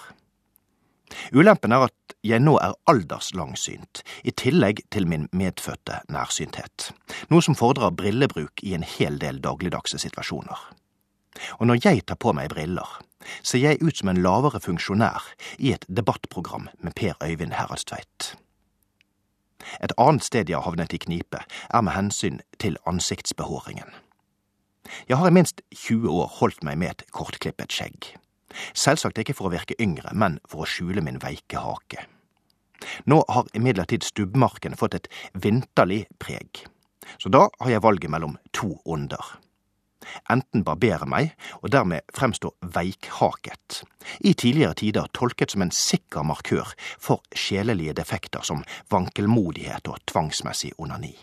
Speaker 6: Ulempen er at jeg nå er alderslangsynt, i tillegg til min medfødte nærsynthet, noe som fordrer brillebruk i en hel del dagligdagse situasjoner og når jeg tar på meg briller, ser jeg ut som en lavere funksjonær i et debattprogram med Per Øyvind Heradstveit. Et annet sted jeg har havnet i knipe, er med hensyn til ansiktsbehåringen. Jeg har i minst 20 år holdt meg med et kortklippet skjegg. Selvsagt ikke for å virke yngre, men for å skjule min veike hake. Nå har imidlertid stubbmarken fått et vinterlig preg, så da har jeg valget mellom to onder enten barbere meg og dermed fremstå veikhaket, i tidligere tider tolket som en sikker markør for sjelelige defekter som vankelmodighet og tvangsmessig onani.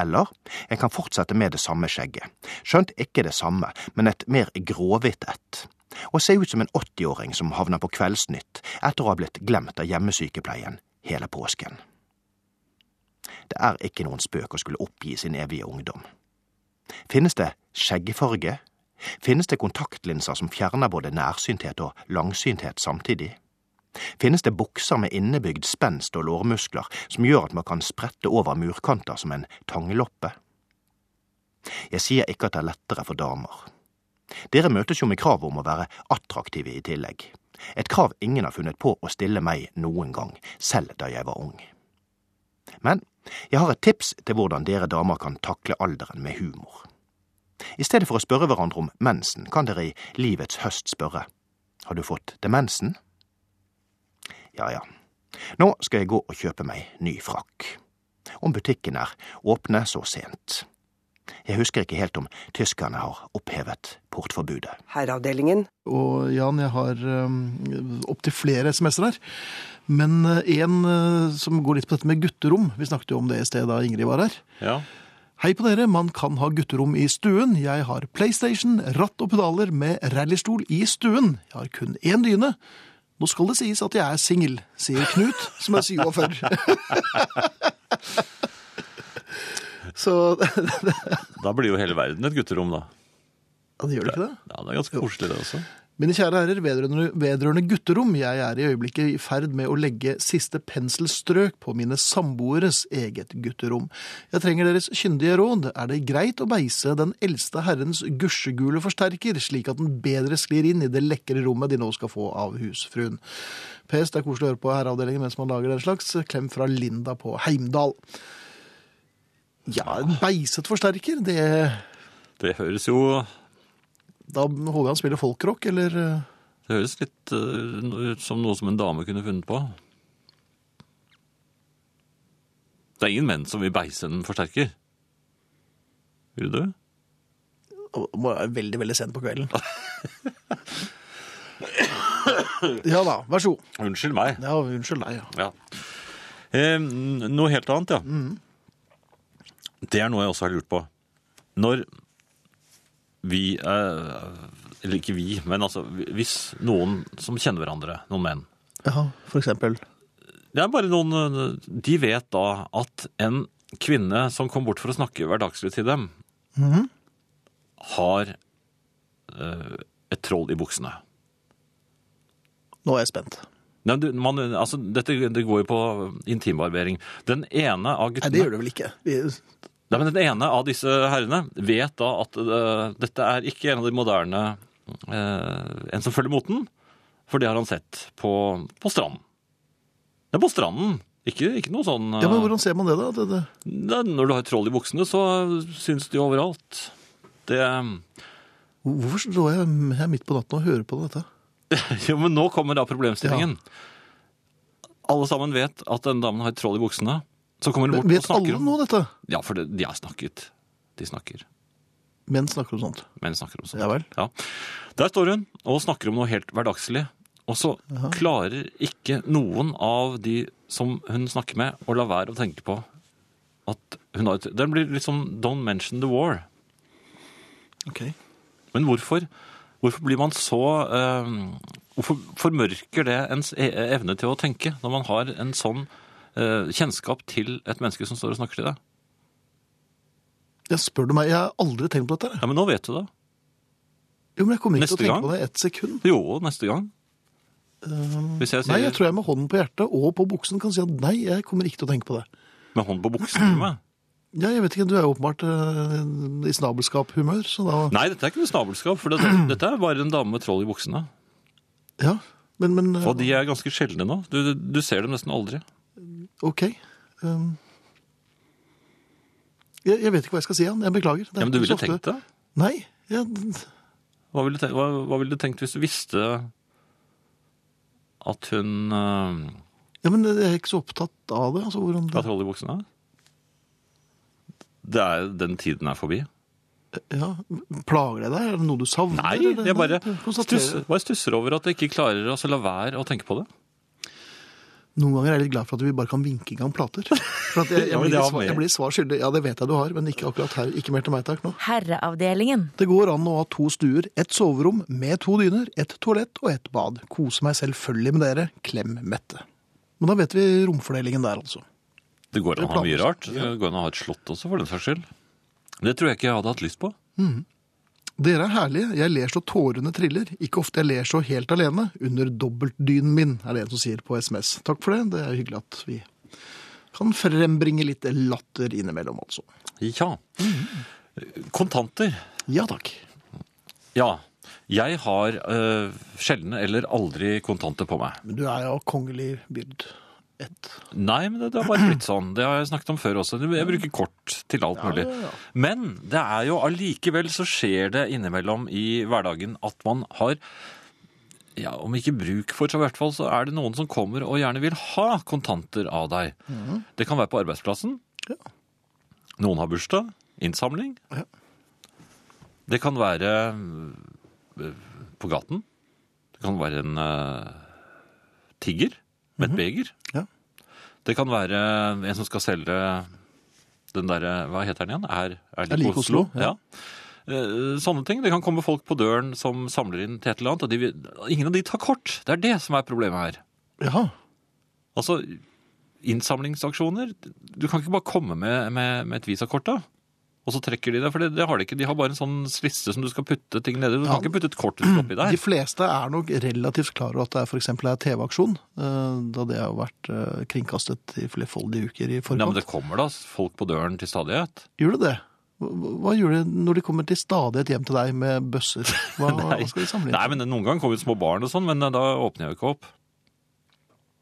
Speaker 6: Eller jeg kan fortsette med det samme skjegget, skjønt ikke det samme, men et mer gråhvitt et, og se ut som en 80-åring som havner på Kveldsnytt etter å ha blitt glemt av hjemmesykepleien hele påsken. Det er ikke noen spøk å skulle oppgi sin evige ungdom. Finnes det skjeggfarge? Finnes det kontaktlinser som fjerner både nærsynthet og langsynthet samtidig? Finnes det bukser med innebygd spenst og lårmuskler som gjør at man kan sprette over murkanter som en tangloppe? Jeg sier ikke at det er lettere for damer. Dere møtes jo med krav om å være attraktive i tillegg. Et krav ingen har funnet på å stille meg noen gang, selv da jeg var ung. Men jeg har et tips til hvordan dere damer kan takle alderen med humor. I stedet for å spørre hverandre om mensen, kan dere i livets høst spørre Har du fått demensen? Ja ja, nå skal jeg gå og kjøpe meg ny frakk. Om butikken er åpne så sent. Jeg husker ikke helt om tyskerne har opphevet portforbudet.
Speaker 1: Herreavdelingen.
Speaker 3: Og Jan, jeg har um, opptil flere SMS-er her. Men eh, en eh, som går litt på dette med gutterom. Vi snakket jo om det i sted da Ingrid var her.
Speaker 2: Ja.
Speaker 3: Hei på dere, man kan ha gutterom i stuen. Jeg har PlayStation, ratt og pedaler med rallystol i stuen. Jeg har kun én dyne. Nå skal det sies at jeg er singel, sier Knut, som er syv år før. Så [LAUGHS]
Speaker 2: Da blir jo hele verden et gutterom, da.
Speaker 3: Han gjør det ikke det?
Speaker 2: Ja, Det er ganske koselig, det også.
Speaker 3: Mine kjære herrer, vedrørende, vedrørende gutterom, jeg er i øyeblikket i ferd med å legge siste penselstrøk på mine samboeres eget gutterom. Jeg trenger deres kyndige råd. Er det greit å beise den eldste herrens gusjegule forsterker, slik at den bedre sklir inn i det lekre rommet de nå skal få av husfruen? PS, det er koselig å høre på herreavdelingen mens man lager den slags. Klem fra Linda på Heimdal. Ja, en beiset forsterker, det
Speaker 2: Det høres jo
Speaker 3: Da håper jeg han spiller folkrock, eller eh,
Speaker 2: Det høres litt eh, ut som noe som en dame kunne funnet på. Det er ingen menn som vil beise en forsterker. Vil du?
Speaker 3: må være veldig, veldig sent på [LAUGHS] kvelden. ja da, vær så god.
Speaker 2: Unnskyld meg.
Speaker 3: Ja, unnskyld deg. Ja.
Speaker 2: Ja. Eh, noe helt annet, ja. Det er noe jeg også har lurt på. Når vi eh, Eller ikke vi, men altså hvis noen som kjenner hverandre, noen menn
Speaker 3: Jaha, for eksempel.
Speaker 2: Det er bare noen De vet da at en kvinne som kom bort for å snakke hverdagslig til dem,
Speaker 3: Mhm.
Speaker 2: har eh, et troll i buksene.
Speaker 3: Nå er jeg spent.
Speaker 2: Nei, du, man, altså, dette det går jo på intimbarbering. Den ene av
Speaker 3: Nei,
Speaker 2: guttene
Speaker 3: det gjør det vel ikke. Vi,
Speaker 2: Nei, men Den ene av disse herrene vet da at eh, dette er ikke en av de moderne eh, En som følger moten, for det har han sett på, på stranden. Det er på stranden, ikke, ikke noe sånn
Speaker 3: ja, men
Speaker 2: eh,
Speaker 3: hvordan ser man det, da? Det, det.
Speaker 2: Da, når du har troll i buksene, så syns de overalt. Det [LAUGHS]
Speaker 3: Hvorfor står jeg her midt på natten og hører på dette?
Speaker 2: Jo, men nå kommer da problemstillingen. Alle sammen vet at den damen har troll i buksene. Så kommer hun bort og
Speaker 3: Vet
Speaker 2: snakker
Speaker 3: alle
Speaker 2: om
Speaker 3: nå dette?
Speaker 2: Ja, for det, de har snakket. De snakker.
Speaker 3: Menn snakker om sånt.
Speaker 2: Men snakker om sånt.
Speaker 3: Ja vel.
Speaker 2: Ja. Der står hun og snakker om noe helt hverdagslig. Og så klarer ikke noen av de som hun snakker med, å la være å tenke på at hun har et Den blir litt sånn 'Don't mention the war'.
Speaker 3: Ok.
Speaker 2: Men hvorfor, hvorfor blir man så eh, Hvorfor formørker det ens e- evne til å tenke når man har en sånn eh, kjennskap til et menneske som står og snakker til deg?
Speaker 3: Jeg spør du meg, jeg har aldri tenkt på dette. her.
Speaker 2: Ja, men nå vet du det.
Speaker 3: Jo, men jeg kommer ikke
Speaker 2: Neste
Speaker 3: til å tenke
Speaker 2: gang?
Speaker 3: på det ett sekund.
Speaker 2: Jo, neste gang. Hvis jeg sier
Speaker 3: Um, Nei, jeg tror jeg med hånden på hjertet og på buksen kan si at nei, jeg kommer ikke til å tenke på det.
Speaker 2: med hånd på buksen til
Speaker 3: [CLEARS THROAT]
Speaker 2: meg
Speaker 3: Ja, jeg vet ikke, du er jo åpenbart eh, i snabelskap-humør, så da...
Speaker 2: Nei, dette er ikke noe snabelskap, for dette,
Speaker 3: [CLEARS THROAT]
Speaker 2: dette er bare en dame med troll i buksene.
Speaker 3: Ja, men, men eh,
Speaker 2: Og de er ganske sjeldne nå. Du, du, du ser dem nesten aldri.
Speaker 3: ok. Um, jeg, jeg vet ikke hva jeg skal si, Jan. Jeg beklager. Det er
Speaker 2: Ja, men du
Speaker 3: ikke så
Speaker 2: ville
Speaker 3: ofte-
Speaker 2: tenkt det.
Speaker 3: Nei, jeg,
Speaker 2: Hva ville, du tenkt, hva, hva ville du tenkt hvis du visste at hun eh,
Speaker 3: ja, men jeg er ikke så opptatt av det. Altså, hvordan
Speaker 2: Hva
Speaker 3: det,
Speaker 2: troll i buksene? Det er, den tiden er forbi.
Speaker 3: ja, plager det deg? Er det noe du savner?
Speaker 2: Nei,
Speaker 3: eller?
Speaker 2: jeg bare
Speaker 3: Nei, konstaterer.
Speaker 2: stusser, bare stusser over at jeg ikke klarer å så la være å tenke på det.
Speaker 3: Noen ganger er jeg litt glad for at vi bare kan vinke i gang plater. For
Speaker 2: [LAUGHS]
Speaker 3: at jeg, jeg,
Speaker 2: Ja, men
Speaker 3: blir
Speaker 2: det har
Speaker 3: svar,
Speaker 2: vi.
Speaker 3: jeg blir svar skyldig. Ja, det vet jeg du har, men ikke akkurat her. Ikke mer til meg, takk. nå.
Speaker 4: Herreavdelingen.
Speaker 3: Det går an å ha to stuer, ett soverom med to dyner, ett toalett og ett bad. Kose meg selvfølgelig med dere. Klem Mette. Men da vet vi romfordelingen der, altså.
Speaker 2: Det går an å ha mye rart. Det går an å ha et slott også, for den saks skyld. Det tror jeg ikke jeg hadde hatt lyst på.
Speaker 3: Dere er herlige. Jeg ler så tårene triller. Ikke ofte jeg ler så helt alene. Under dobbeltdynen min, er det en som sier på SMS. Takk for det. Det er hyggelig at vi kan frembringe litt latter innimellom, altså.
Speaker 2: Ja. Kontanter.
Speaker 3: Ja takk.
Speaker 2: Ja. Jeg har eh, sjeldne eller aldri kontanter på meg.
Speaker 3: Men du er jo av kongelig byrd. Ett.
Speaker 2: Nei, men det, det har bare blitt sånn. Det har jeg snakket om før også. Jeg bruker kort til alt mulig.
Speaker 3: ja, ja.
Speaker 2: Men det er jo allikevel så skjer det innimellom i hverdagen at man har ja, Om ikke bruk for, så i hvert fall så er det noen som kommer og gjerne vil ha kontanter av deg.
Speaker 3: Mhm.
Speaker 2: Det kan være på arbeidsplassen.
Speaker 3: Ja.
Speaker 2: Noen har bursdag. Innsamling.
Speaker 3: Ja.
Speaker 2: Det kan være øh, på gaten. Det kan være en øh, tigger med et beger.
Speaker 3: Ja.
Speaker 2: Det kan være en som skal selge den derre Hva heter den igjen? Er, er lik Oslo. Ja. Eh, Sånne ting. Det kan komme folk på døren som samler inn til et eller annet, og de, vil- ingen av de tar kort. Det er det som er problemet her.
Speaker 3: Jaha.
Speaker 2: Altså, innsamlingsaksjoner Du kan ikke bare komme med, med, med et visakort, da. Og så trekker de det, for det, det har de ikke. De har bare en sånn liste som du skal putte ting nedi. Du
Speaker 3: Ja.
Speaker 2: kan ikke putte et kort du skal oppi der.
Speaker 3: De fleste er nok relativt klar over at det er for eksempel er TV-aksjon, eh, da det har vært eh, kringkastet i flerfoldige uker i
Speaker 2: Nei, men
Speaker 3: forkant.
Speaker 2: det kommer da folk på døren til stadighet.
Speaker 3: Gjør det det? Hva hva gjør det når de kommer til stadighet hjem til deg med bøsser?
Speaker 2: [LAUGHS]
Speaker 3: Hva, hva skal de samle inn?
Speaker 2: Nei, men Noen ganger kommer det små barn og sånn, men da åpner jeg jo ikke opp.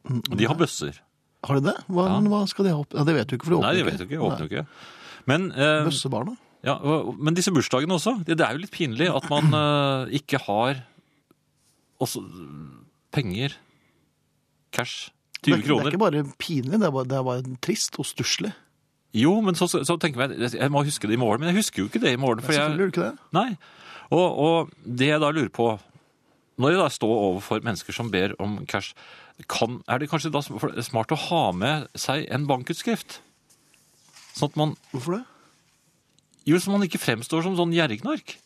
Speaker 3: Mm,
Speaker 2: De har bøsser.
Speaker 3: Har de det? Hva,
Speaker 2: Ja.
Speaker 3: men hva skal de ha opp? Ja, det vet du ikke, for de åpner
Speaker 2: Nei, de
Speaker 3: ikke.
Speaker 2: vet jo ikke. Åpner jo ikke. Men eh,
Speaker 3: Bøssebarna?
Speaker 2: Ja, og- Men disse bursdagene også. Det det er jo litt pinlig at
Speaker 3: [CLEARS THROAT]
Speaker 2: man eh, ikke har også mm, penger, cash,
Speaker 3: Det er,
Speaker 2: 20
Speaker 3: ikke- det er
Speaker 2: kroner.
Speaker 3: ikke bare pinlig, det er bare, det er bare trist og stusslig.
Speaker 2: Jo, men så, så tenker jeg jeg må huske det i morgen. Men jeg husker jo ikke det i morgen. For
Speaker 3: Selvfølgelig
Speaker 2: jeg,
Speaker 3: gjør du ikke det.
Speaker 2: nei. Og, og det jeg da lurer på Når jeg da står overfor mennesker som ber om cash, kan, er det kanskje da smart å ha med seg en bankutskrift? Sånn at man
Speaker 3: Hvorfor det?
Speaker 2: Jo, så man ikke fremstår som sånn gjerrignark.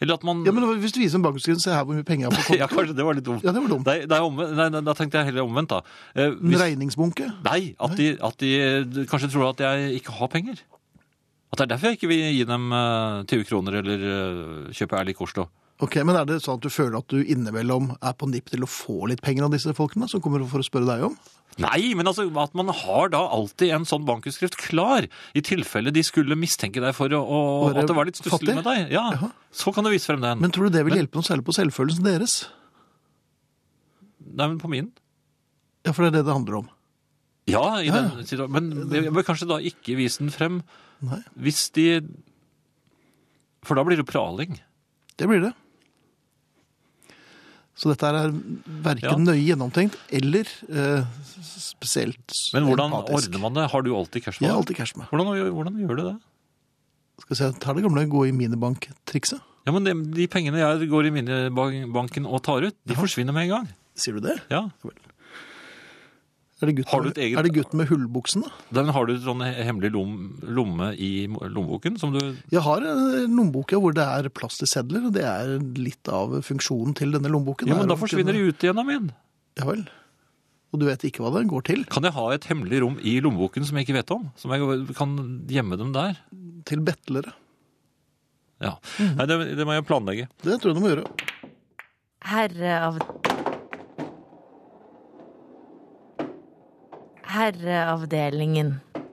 Speaker 2: Eller at man
Speaker 3: Ja, men Hvis du viser en bankutskrift, se her hvor mye penger jeg har på konto.
Speaker 2: [LAUGHS] Ja, kanskje det var litt dumt.
Speaker 3: Ja, det var dumt.
Speaker 2: Nei, det er omvendt, nei, nei, da tenkte jeg heller omvendt, da. Eh,
Speaker 3: En
Speaker 2: hvis,
Speaker 3: regningsbunke.
Speaker 2: nei, at de, at de kanskje tror at jeg ikke har penger. At det er derfor jeg ikke vil gi dem eh, 20 kroner eller eh, kjøpe ærlig korslo.
Speaker 3: Ok, Men er det sånn at du føler at du innimellom er på nippet til å få litt penger av disse folkene som kommer for å spørre deg om?
Speaker 2: Nei, men altså at man har da alltid en sånn bankutskrift klar, i tilfelle de skulle mistenke deg for å, å,
Speaker 3: Være
Speaker 2: at det var litt stusslig
Speaker 3: fattig?
Speaker 2: med deg. Ja,
Speaker 3: Jaha.
Speaker 2: Så kan du vise frem den.
Speaker 3: Men tror du det vil hjelpe noe særlig på selvfølelsen deres?
Speaker 2: Nei, men på min.
Speaker 3: Ja, for det er det det handler om.
Speaker 2: Ja, i den situasjonen. Men jeg bør kanskje da ikke vise den frem
Speaker 3: Nei,
Speaker 2: hvis de For da blir det praling.
Speaker 3: det blir det. Så dette her er verken
Speaker 2: Ja.
Speaker 3: nøye gjennomtenkt eller eh, s- spesielt
Speaker 2: Men hvordan
Speaker 3: empatisk.
Speaker 2: ordner man det? Har du alltid cash på
Speaker 3: Jeg
Speaker 2: deg?
Speaker 3: har alltid cash med.
Speaker 2: Hvordan, gjør- hvordan gjør du det?
Speaker 3: Skal vi se, jeg tar det gamle gå i minibank-trikset.
Speaker 2: Ja, men de, de pengene jeg går i minibanken og tar ut, de forsvinner med en gang.
Speaker 3: Sier du det?
Speaker 2: Ja.
Speaker 3: Er det gutten,
Speaker 2: Har du et eget-
Speaker 3: er det gutten med hullbuksen, da?
Speaker 2: Den har du sånn hemmelig lom, lomme i lommeboken som du
Speaker 3: Jeg har en lommeboke hvor det er plass til sedler, og det er litt av funksjonen til denne lommeboken.
Speaker 2: Ja, men da forsvinner de ut igjen av min.
Speaker 3: Ja vel. Og du vet ikke hva den går til?
Speaker 2: Kan jeg ha et hemmelig rom i lommeboken som jeg ikke vet om? Som jeg kan gjemme dem der?
Speaker 3: Til betlere.
Speaker 2: Ja.
Speaker 3: Mhm.
Speaker 2: Nei, det, det må jeg planlegge.
Speaker 3: Det tror jeg du må gjøre.
Speaker 4: Herre av Herreavdelingen.